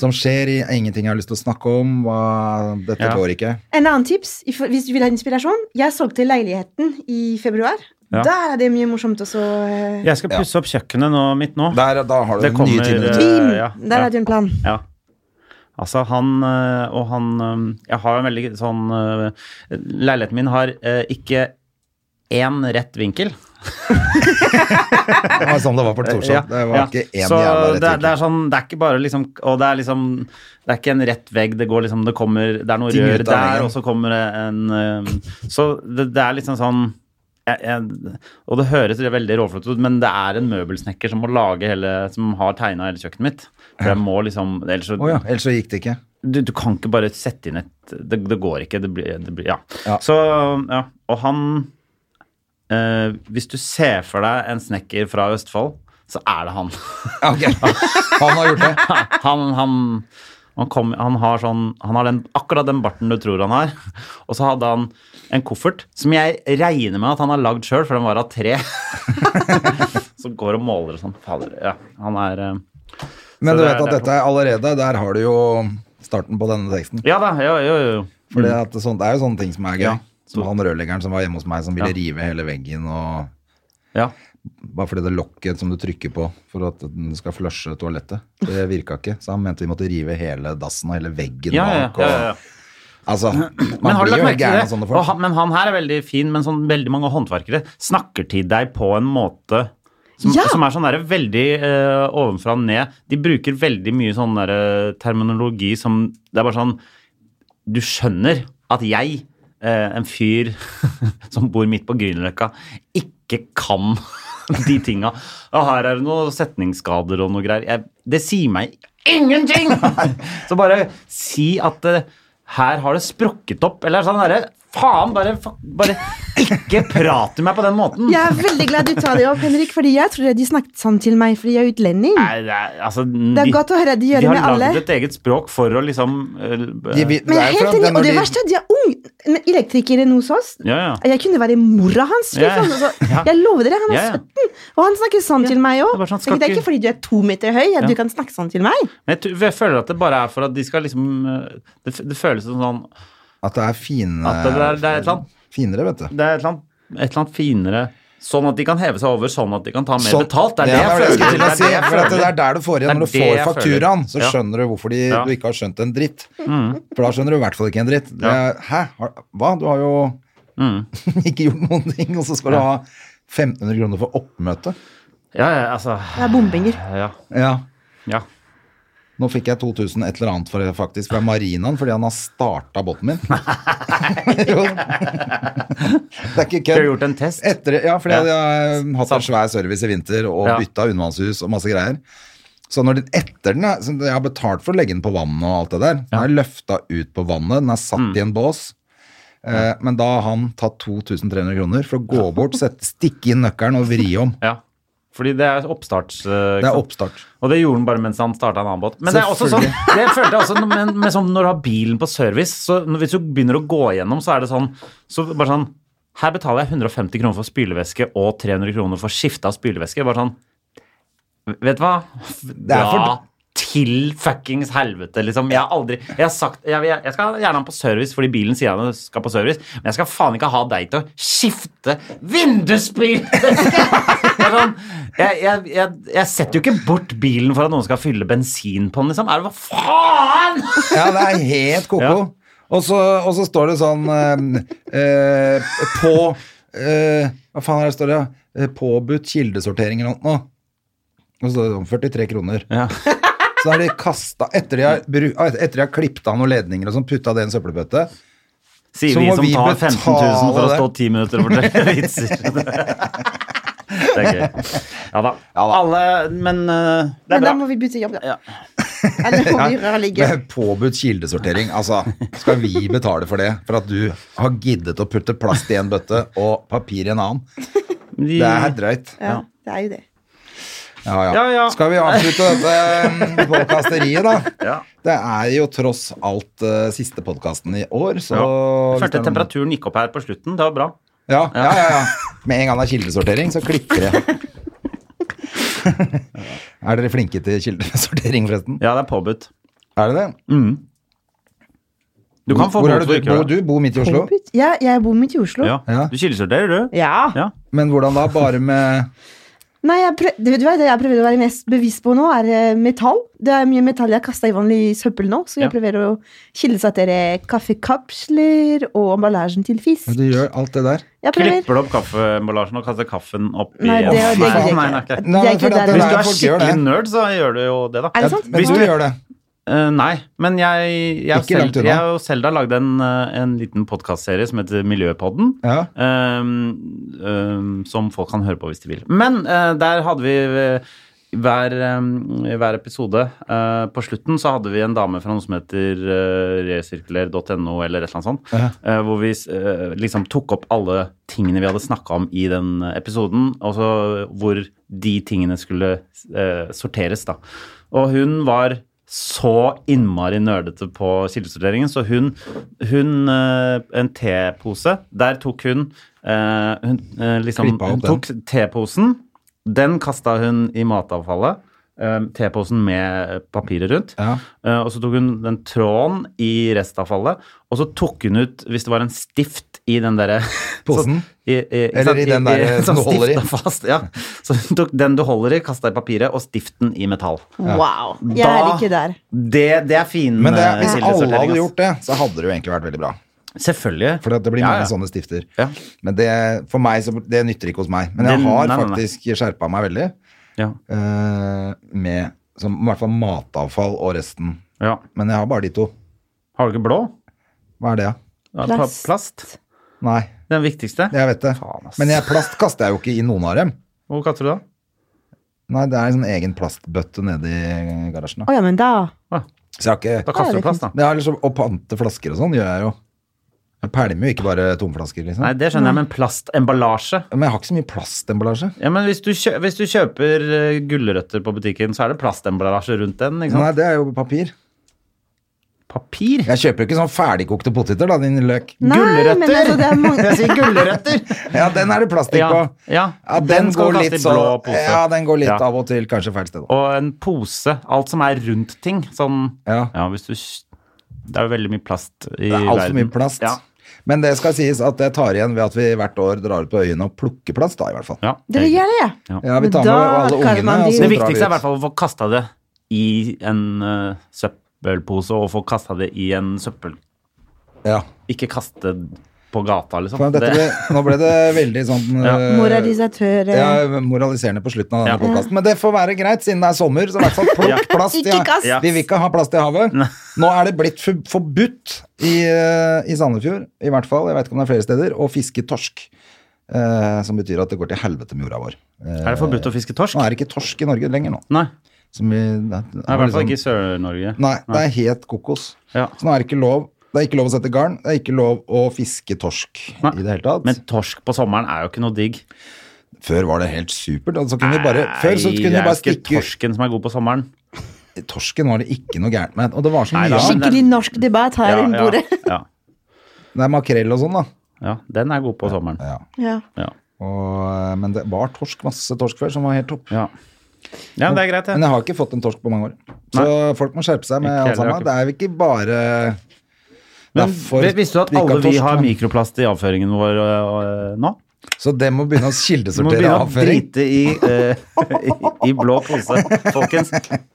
som skjer, i- ingenting jeg har lyst til å snakke om, hva, dette
Ja.
går ikke.
En annen tips, if- hvis du vil ha inspirasjon, jeg solgte leiligheten i februar.
Ja.
Der er det mye morsomt også. eh,
Jeg skal pusse opp kjøkkenet nå, mitt nå.
Der, da har du
Det
den nye
kommer,
timen.
eh,
Bim!
ja,
Der
ja.
er det en plan.
Ja. Altså, han øh, og han øh, Jeg har en veldig sånn øh, Leiligheten min har øh, ikke én rett vinkel.
Det var sånn det var på Torshov.
Ja,
Det var
ja.
ikke én
Så
jævla rett
det, er-
vinkel.
det er sånn, det er ikke bare liksom Og det er liksom Det er ikke en rett vegg, det går liksom Det kommer Det er noe
Ting
rør
ut av veggen.
der, og så kommer det en øhm, Så det, det er liksom sånn jeg, jeg, og det høres veldig råflott ut, men det er en møbelsnekker som må lage hele, som har tegna hele kjøkkenet mitt. For jeg må liksom, ellers så
Å ja, ellers så gikk det ikke.
du, du kan ikke bare sette inn et Det, det går ikke. Det blir, det blir ja.
Ja.
Så, ja. Og han eh, Hvis du ser for deg en snekker fra Østfold, så er det han.
Ja, ok. Han har gjort det.
han, han, han, kom, han har, sånn, han har den, akkurat den barten du tror han har. Og så hadde han en koffert som jeg regner med at han har lagd sjøl, for den var av tre. som går og måler og sånn. Fader, ja. Han er eh, Så
Men du
det er- det
vet at
er sånn.
dette er allerede Der har du jo starten på denne teksten.
Ja da, jo, jo, jo.
For det, at det sånn, det er jo sånne ting som er gøy.
Mm. Ja.
Som han rørleggeren som var hjemme hos meg, som ville
Ja.
rive hele veggen og
Ja.
Bare fordi det lokket som du trykker på for at den skal flushe toalettet, det virka ikke. Så han mente vi måtte rive hele dassen og hele veggen
Ja, ja, ja,
bak.
ja,
Og,
ja.
Altså,
Men
man
har du
blir
lagt
jo
merke
helt
til
gæren av
det?
sånne
Og
folk.
han, men han her er veldig fin, men sånn veldig mange håndverkere snakker til deg på en måte som,
Ja!
som er sånn der, veldig eh, ovenfra og ned. De bruker veldig mye sånn der, eh, terminologi som Det er bare sånn Du skjønner at jeg, eh, en fyr som bor midt på Grünerløkka, ikke kan de tinga. Og her er det noen setningsskader og noe greier. Jeg, det sier meg ingenting! Så bare si at eh, her har det sprukket opp, eller sånn derre Faen, bare, fa- bare ikke prat til meg på den måten!
Jeg er veldig glad du tar det opp, Henrik, fordi jeg trodde de snakket sånn til meg fordi jeg er utlending.
Nei, det er, altså,
Det er godt å høre at de gjør
de
det
har
med alle.
lagd et eget språk for å liksom eh,
De- vi-
Men
det er jo for
jeg er helt
at
enig,
når
og det
de-
verste er at de er unge. Men elektrikeren hos oss
Ja, ja.
Jeg kunne være mora hans. fy
Ja, ja.
faen, altså.
Ja.
Jeg lover dere, han er
Ja, ja.
17, og han snakker sånn til meg òg.
det er bare sånn, skal
det er
ikke-
ikke fordi du er to meter høy at
Ja.
du kan snakke sånn til meg.
Men jeg, tror- jeg føler at det bare er for at de skal liksom eh, Det, f- det føles som sånn
At det er fine
At det er- det er et eller annet.
Finere, vet du.
Det er et eller annet, et eller annet finere Sånn at de kan heve seg over, sånn at de kan ta mer
Sånn-
betalt. Det er
Ja,
det jeg
det
føler.
skulle jeg si,
det jeg
for at det
føler.
er der du får
Det er
igjen. Når du
det
får
jeg føler.
fakturaen, så
Ja.
skjønner du hvorfor de,
Ja. Mm.
du ikke har skjønt en dritt. For da skjønner du i hvert fall ikke en dritt. Det
Ja. Mm.
er, Hæ? Har, hva? Du har jo ikke gjort noen ting, og så skal du ha 1500 kroner for oppmøte?
Ja, ja, altså
Det er bombinger.
Ja.
Ja.
ja.
Nå fikk jeg 2000 et eller annet for det, faktisk fra marinaen fordi han har starta båten min. Jo. det er ikke
Skal vi
kødd.
gjort en test?
Etter, ja, fordi
Ja.
jeg har hatt en svær service i vinter og
Ja.
bytta undervannshus og masse greier. Så når den etter den er, så Jeg har betalt for å legge den på vannet og alt det der. Den er løfta ut på vannet, den er satt
Mm.
i en bås. Eh, men da har han tatt 2300 kroner for å gå bort, sette, stikke inn nøkkelen og vri om.
Ja. Fordi det er oppstarts... eh, ikke
Det er
sant?
oppstart.
Og det gjorde han bare mens han starta en annen båt. Men det er også sånn, det følte jeg også men, men sånn, når du har bilen på service, så når- hvis du begynner å gå igjennom, så er det sånn så bare sånn, Her betaler jeg 150 kroner for spylevæske og 300 kroner for skifte av spylevæske. Bare sånn Vet du hva?
Det er for,
til fuckings helvete, liksom. Jeg har aldri Jeg har sagt Jeg, jeg, jeg skal gjerne ha den på service fordi bilen sier han skal på service, men jeg skal faen ikke ha deg til å skifte vindusbil! Det er sånn, jeg, jeg, jeg, jeg setter jo ikke bort bilen for at noen skal fylle bensin på den, liksom. Er det hva faen?!
Ja, det er helt koko.
Ja.
Og, så, og så står det sånn eh, eh, På eh, Hva faen er det står det? Eh, Påbudt kildesortering eller noe. sånt nå. Og så står det sånn 43 kroner.
Ja.
Så har de kasta Etter de har, bru- ah, etter de har klippet av noen ledninger og sånn, putta det i en søppelbøtte
Sier
Så
vi
må
som
vi
tar 15 000 for å
betale
stå
det.
ti minutter og fortelle vitser. Det er gøy. Ja da. Alle Men eh, det
Men
er
da
bra.
må vi bytte jobb, da.
Ja.
Eller må vi rørlegge.
Med påbudt kildesortering. Altså, skal vi betale for det? For at du har giddet å putte plast i en bøtte og papir i en annen?
De-
Det er drøyt.
Ja, det er jo det.
Ja, ja.
Ja, ja.
Skal vi avslutte dette podkasteriet, da?
Ja.
Det er jo tross alt eh, siste podkasten i år, så
Ja.
hvis
Følte
det er noen-
temperaturen gikk opp her på slutten. Det var bra.
Ja, ja, ja, ja. Med en gang det er kildesortering, så klipper det. er dere flinke til kildesortering, forresten?
Ja, det er påbudt.
Er det det?
Du kan få
Hvor er
bot
det
for
du
ikke å
bor?
gjøre
Du bor midt i Oslo?
Ja, jeg bor midt i Oslo.
Ja.
Ja.
Du kildesorterer, du?
Ja.
Ja.
Men hvordan da? Bare med
Nei, jeg prøv, du vet hva, Det jeg prøver å være mest bevisst på nå, er eh, metall. Det er mye metall jeg kaster i vanlig søppel nå, så jeg
Ja.
prøver å kildesortere eh, kaffekapsler og emballasjen til fisk.
Du gjør alt det der?
Jeg prøver.
Klipper du opp kaffeemballasjen og kaster kaffen opp i
Nei, det, det,
Nei,
det, det,
nei, nei, ok.
Nei,
det, det er
men for at
ikke der
det
Hvis
er-
du er
folk gjør det.
skikkelig nerd, så gjør du jo det, da.
Er det sant?
Men du gjør det.
Eh, nei, men jeg, jeg, og
Ikke langt
Sel-
unna.
jeg og Selda lagde en, eh, en liten podkastserie som heter Miljøpodden.
Ja.
ehm, ehm, som folk kan høre på hvis de vil. Men eh, der hadde vi eh, hver, ehm, i hver episode eh, på slutten så hadde vi en dame fra noe som heter eh, resirkuler.no eller et eller annet sånt,
Ja.
eh, hvor vi eh, liksom tok opp alle tingene vi hadde snakka om i den eh, episoden, og så hvor de tingene skulle eh, sorteres, da. Og hun var så innmari nerdete på kildesorteringen, så hun, hun eh, En tepose, der tok hun, eh, hun eh, liksom
Klippa opp
Hun
den.
tok teposen, den kasta hun i matavfallet. eh, Teposen med papiret rundt.
Ja.
Eh, Og så tok hun den tråden i restavfallet, og så tok hun ut, hvis det var en stift i den derre
Posen?
I, i, ikke
Eller
sant?
i den der eh,
sånn
som du holder i.
stifta Fast, ja. Så hun tok den du holder i, kasta i papiret, og stiften i metall.
Wow. Jeg er
Da-
ikke der.
Det, det er fin eh,
Men det, hvis alle
kildesortering,
hadde
ass.
gjort det, så hadde det jo egentlig vært veldig bra.
Selvfølgelig.
For at det blir
Ja,
mange
ja.
sånne stifter.
Ja.
Men det, for meg, så, det nytter ikke hos meg. Men jeg
Det-
har
nei, nei, nei.
faktisk skjerpa meg veldig
Ja.
eh, med som, i hvert fall matavfall og resten.
ja.
Men jeg har bare de to.
Har du ikke blå?
Hva er det, da?
Ja, pla-
Plast.
plast.
Nei,
Den viktigste.
jeg vet det.
Faen, ass.
Men jeg, plast kaster jeg jo ikke i noen av dem.
Hvor kaster du da?
Nei, det er en sånn egen plastbøtte nede i garasjen.
Å
Da.
ja, men da
Så jeg har ikke
Da kaster
Ja,
du
det
plast, da.
Det er liksom, og pante flasker og sånn gjør jeg jo. Jeg pælmer jo ikke bare tomflasker, liksom.
Nei, det skjønner jeg, men plastemballasje
Men jeg har ikke så mye plastemballasje.
Ja, men hvis du, kjø hvis du kjøper eh, gulrøtter på butikken, så er det plastemballasje rundt den, ikke sant?
Nei, det er jo papir.
Papir?
Jeg kjøper jo ikke sånn ferdigkokte poteter, da, din løk.
Nei, men altså, det er mange
Jeg sier gulrøtter!
Ja, den er det plastikk
Ja,
på.
ja.
den,
Den skal
går
du kaste
litt
i
sånn
blå pose.
Ja, den går litt
Ja.
av og til kanskje feil sted. da.
Og en pose. Alt som er rundt ting. Sånn
Ja.
Ja, hvis du kj- Det er jo veldig mye plast i
Det
verden.
er altfor mye plast.
Ja.
Men det skal sies at det tar igjen ved at vi hvert år drar ut på øyene og plukker plast, da, i hvert fall.
Ja,
Dere
det er-
gjør det, ja?
Ja, vi
Men
tar med
da
alle
kan
ungene.
man
og
de-
det
så drar vi
viktigste er i
ut.
hvert fall å få kasta det i en eh, søppelpose, og få kasta det i en søppel...
Ja.
Ikke kaste på gata, liksom.
Faen, dette
Det-
ble, nå ble det veldig sånn
Ja.
eh,
Moralisatører.
ja, moraliserende på slutten av denne
Ja.
podcasten. Men det får være greit, siden det er sommer. Så i hvert fall
Ja.
plukk plast. i-
Ikke kast.
Ja.
Vi vil ikke ha plast i havet. Nå er det blitt for, forbudt i, eh, i Sandefjord, i hvert fall, jeg vet ikke om det er flere steder, å fiske torsk. Eh, som betyr at det går til helvete med jorda vår. Eh,
Er det forbudt å fiske torsk?
nå er det ikke torsk i Norge lenger nå.
Nei.
Som vi, det,
Det er I hvert fall ikke i Sør-Norge.
liksom. Nei, det er helt kokos.
Ja.
Så nå er det ikke lov. Det er ikke lov å sette garn, det er ikke lov å fiske torsk
Nei.
i det hele tatt.
Men torsk på sommeren er jo ikke noe digg.
Før var det helt supert. Altså kunne vi bare, før så
Nei,
kunne vi bare
Det er jo ikke
stikke
torsken som er god på sommeren.
Torsken var det ikke noe gærent med. Og det var så
Nei,
mye
da,
av den.
men-
Skikkelig norsk debatt her rundt
ja,
bordet.
ja,
Det er makrell og sånn, da.
ja, den er god på sommeren.
Ja.
Ja.
Ja.
eh, Og, men det var torsk, masse torsk før, som var helt topp.
ja. Ja, det er greit,
Men
det.
jeg har ikke fått en torsk på mange år. Så folk må skjerpe seg med
Ikke
alt
heller,
sammen. Det er jo ikke bare
Men
derfor
vi- visste du at
de ikke
alle vi
torsk,
har
men-
mikroplast i avføringen vår øh, øh, nå?
Så det må begynne å
Du må
kildesortere
begynne å
avføring.
drite i, øh, i, i blå pose, folkens.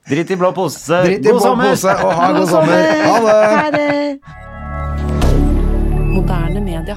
Drit i blå pose.
Dritt i
God
blå
sommer!
pose og ha god sommer. Ha det!
Ha det!
Moderne media.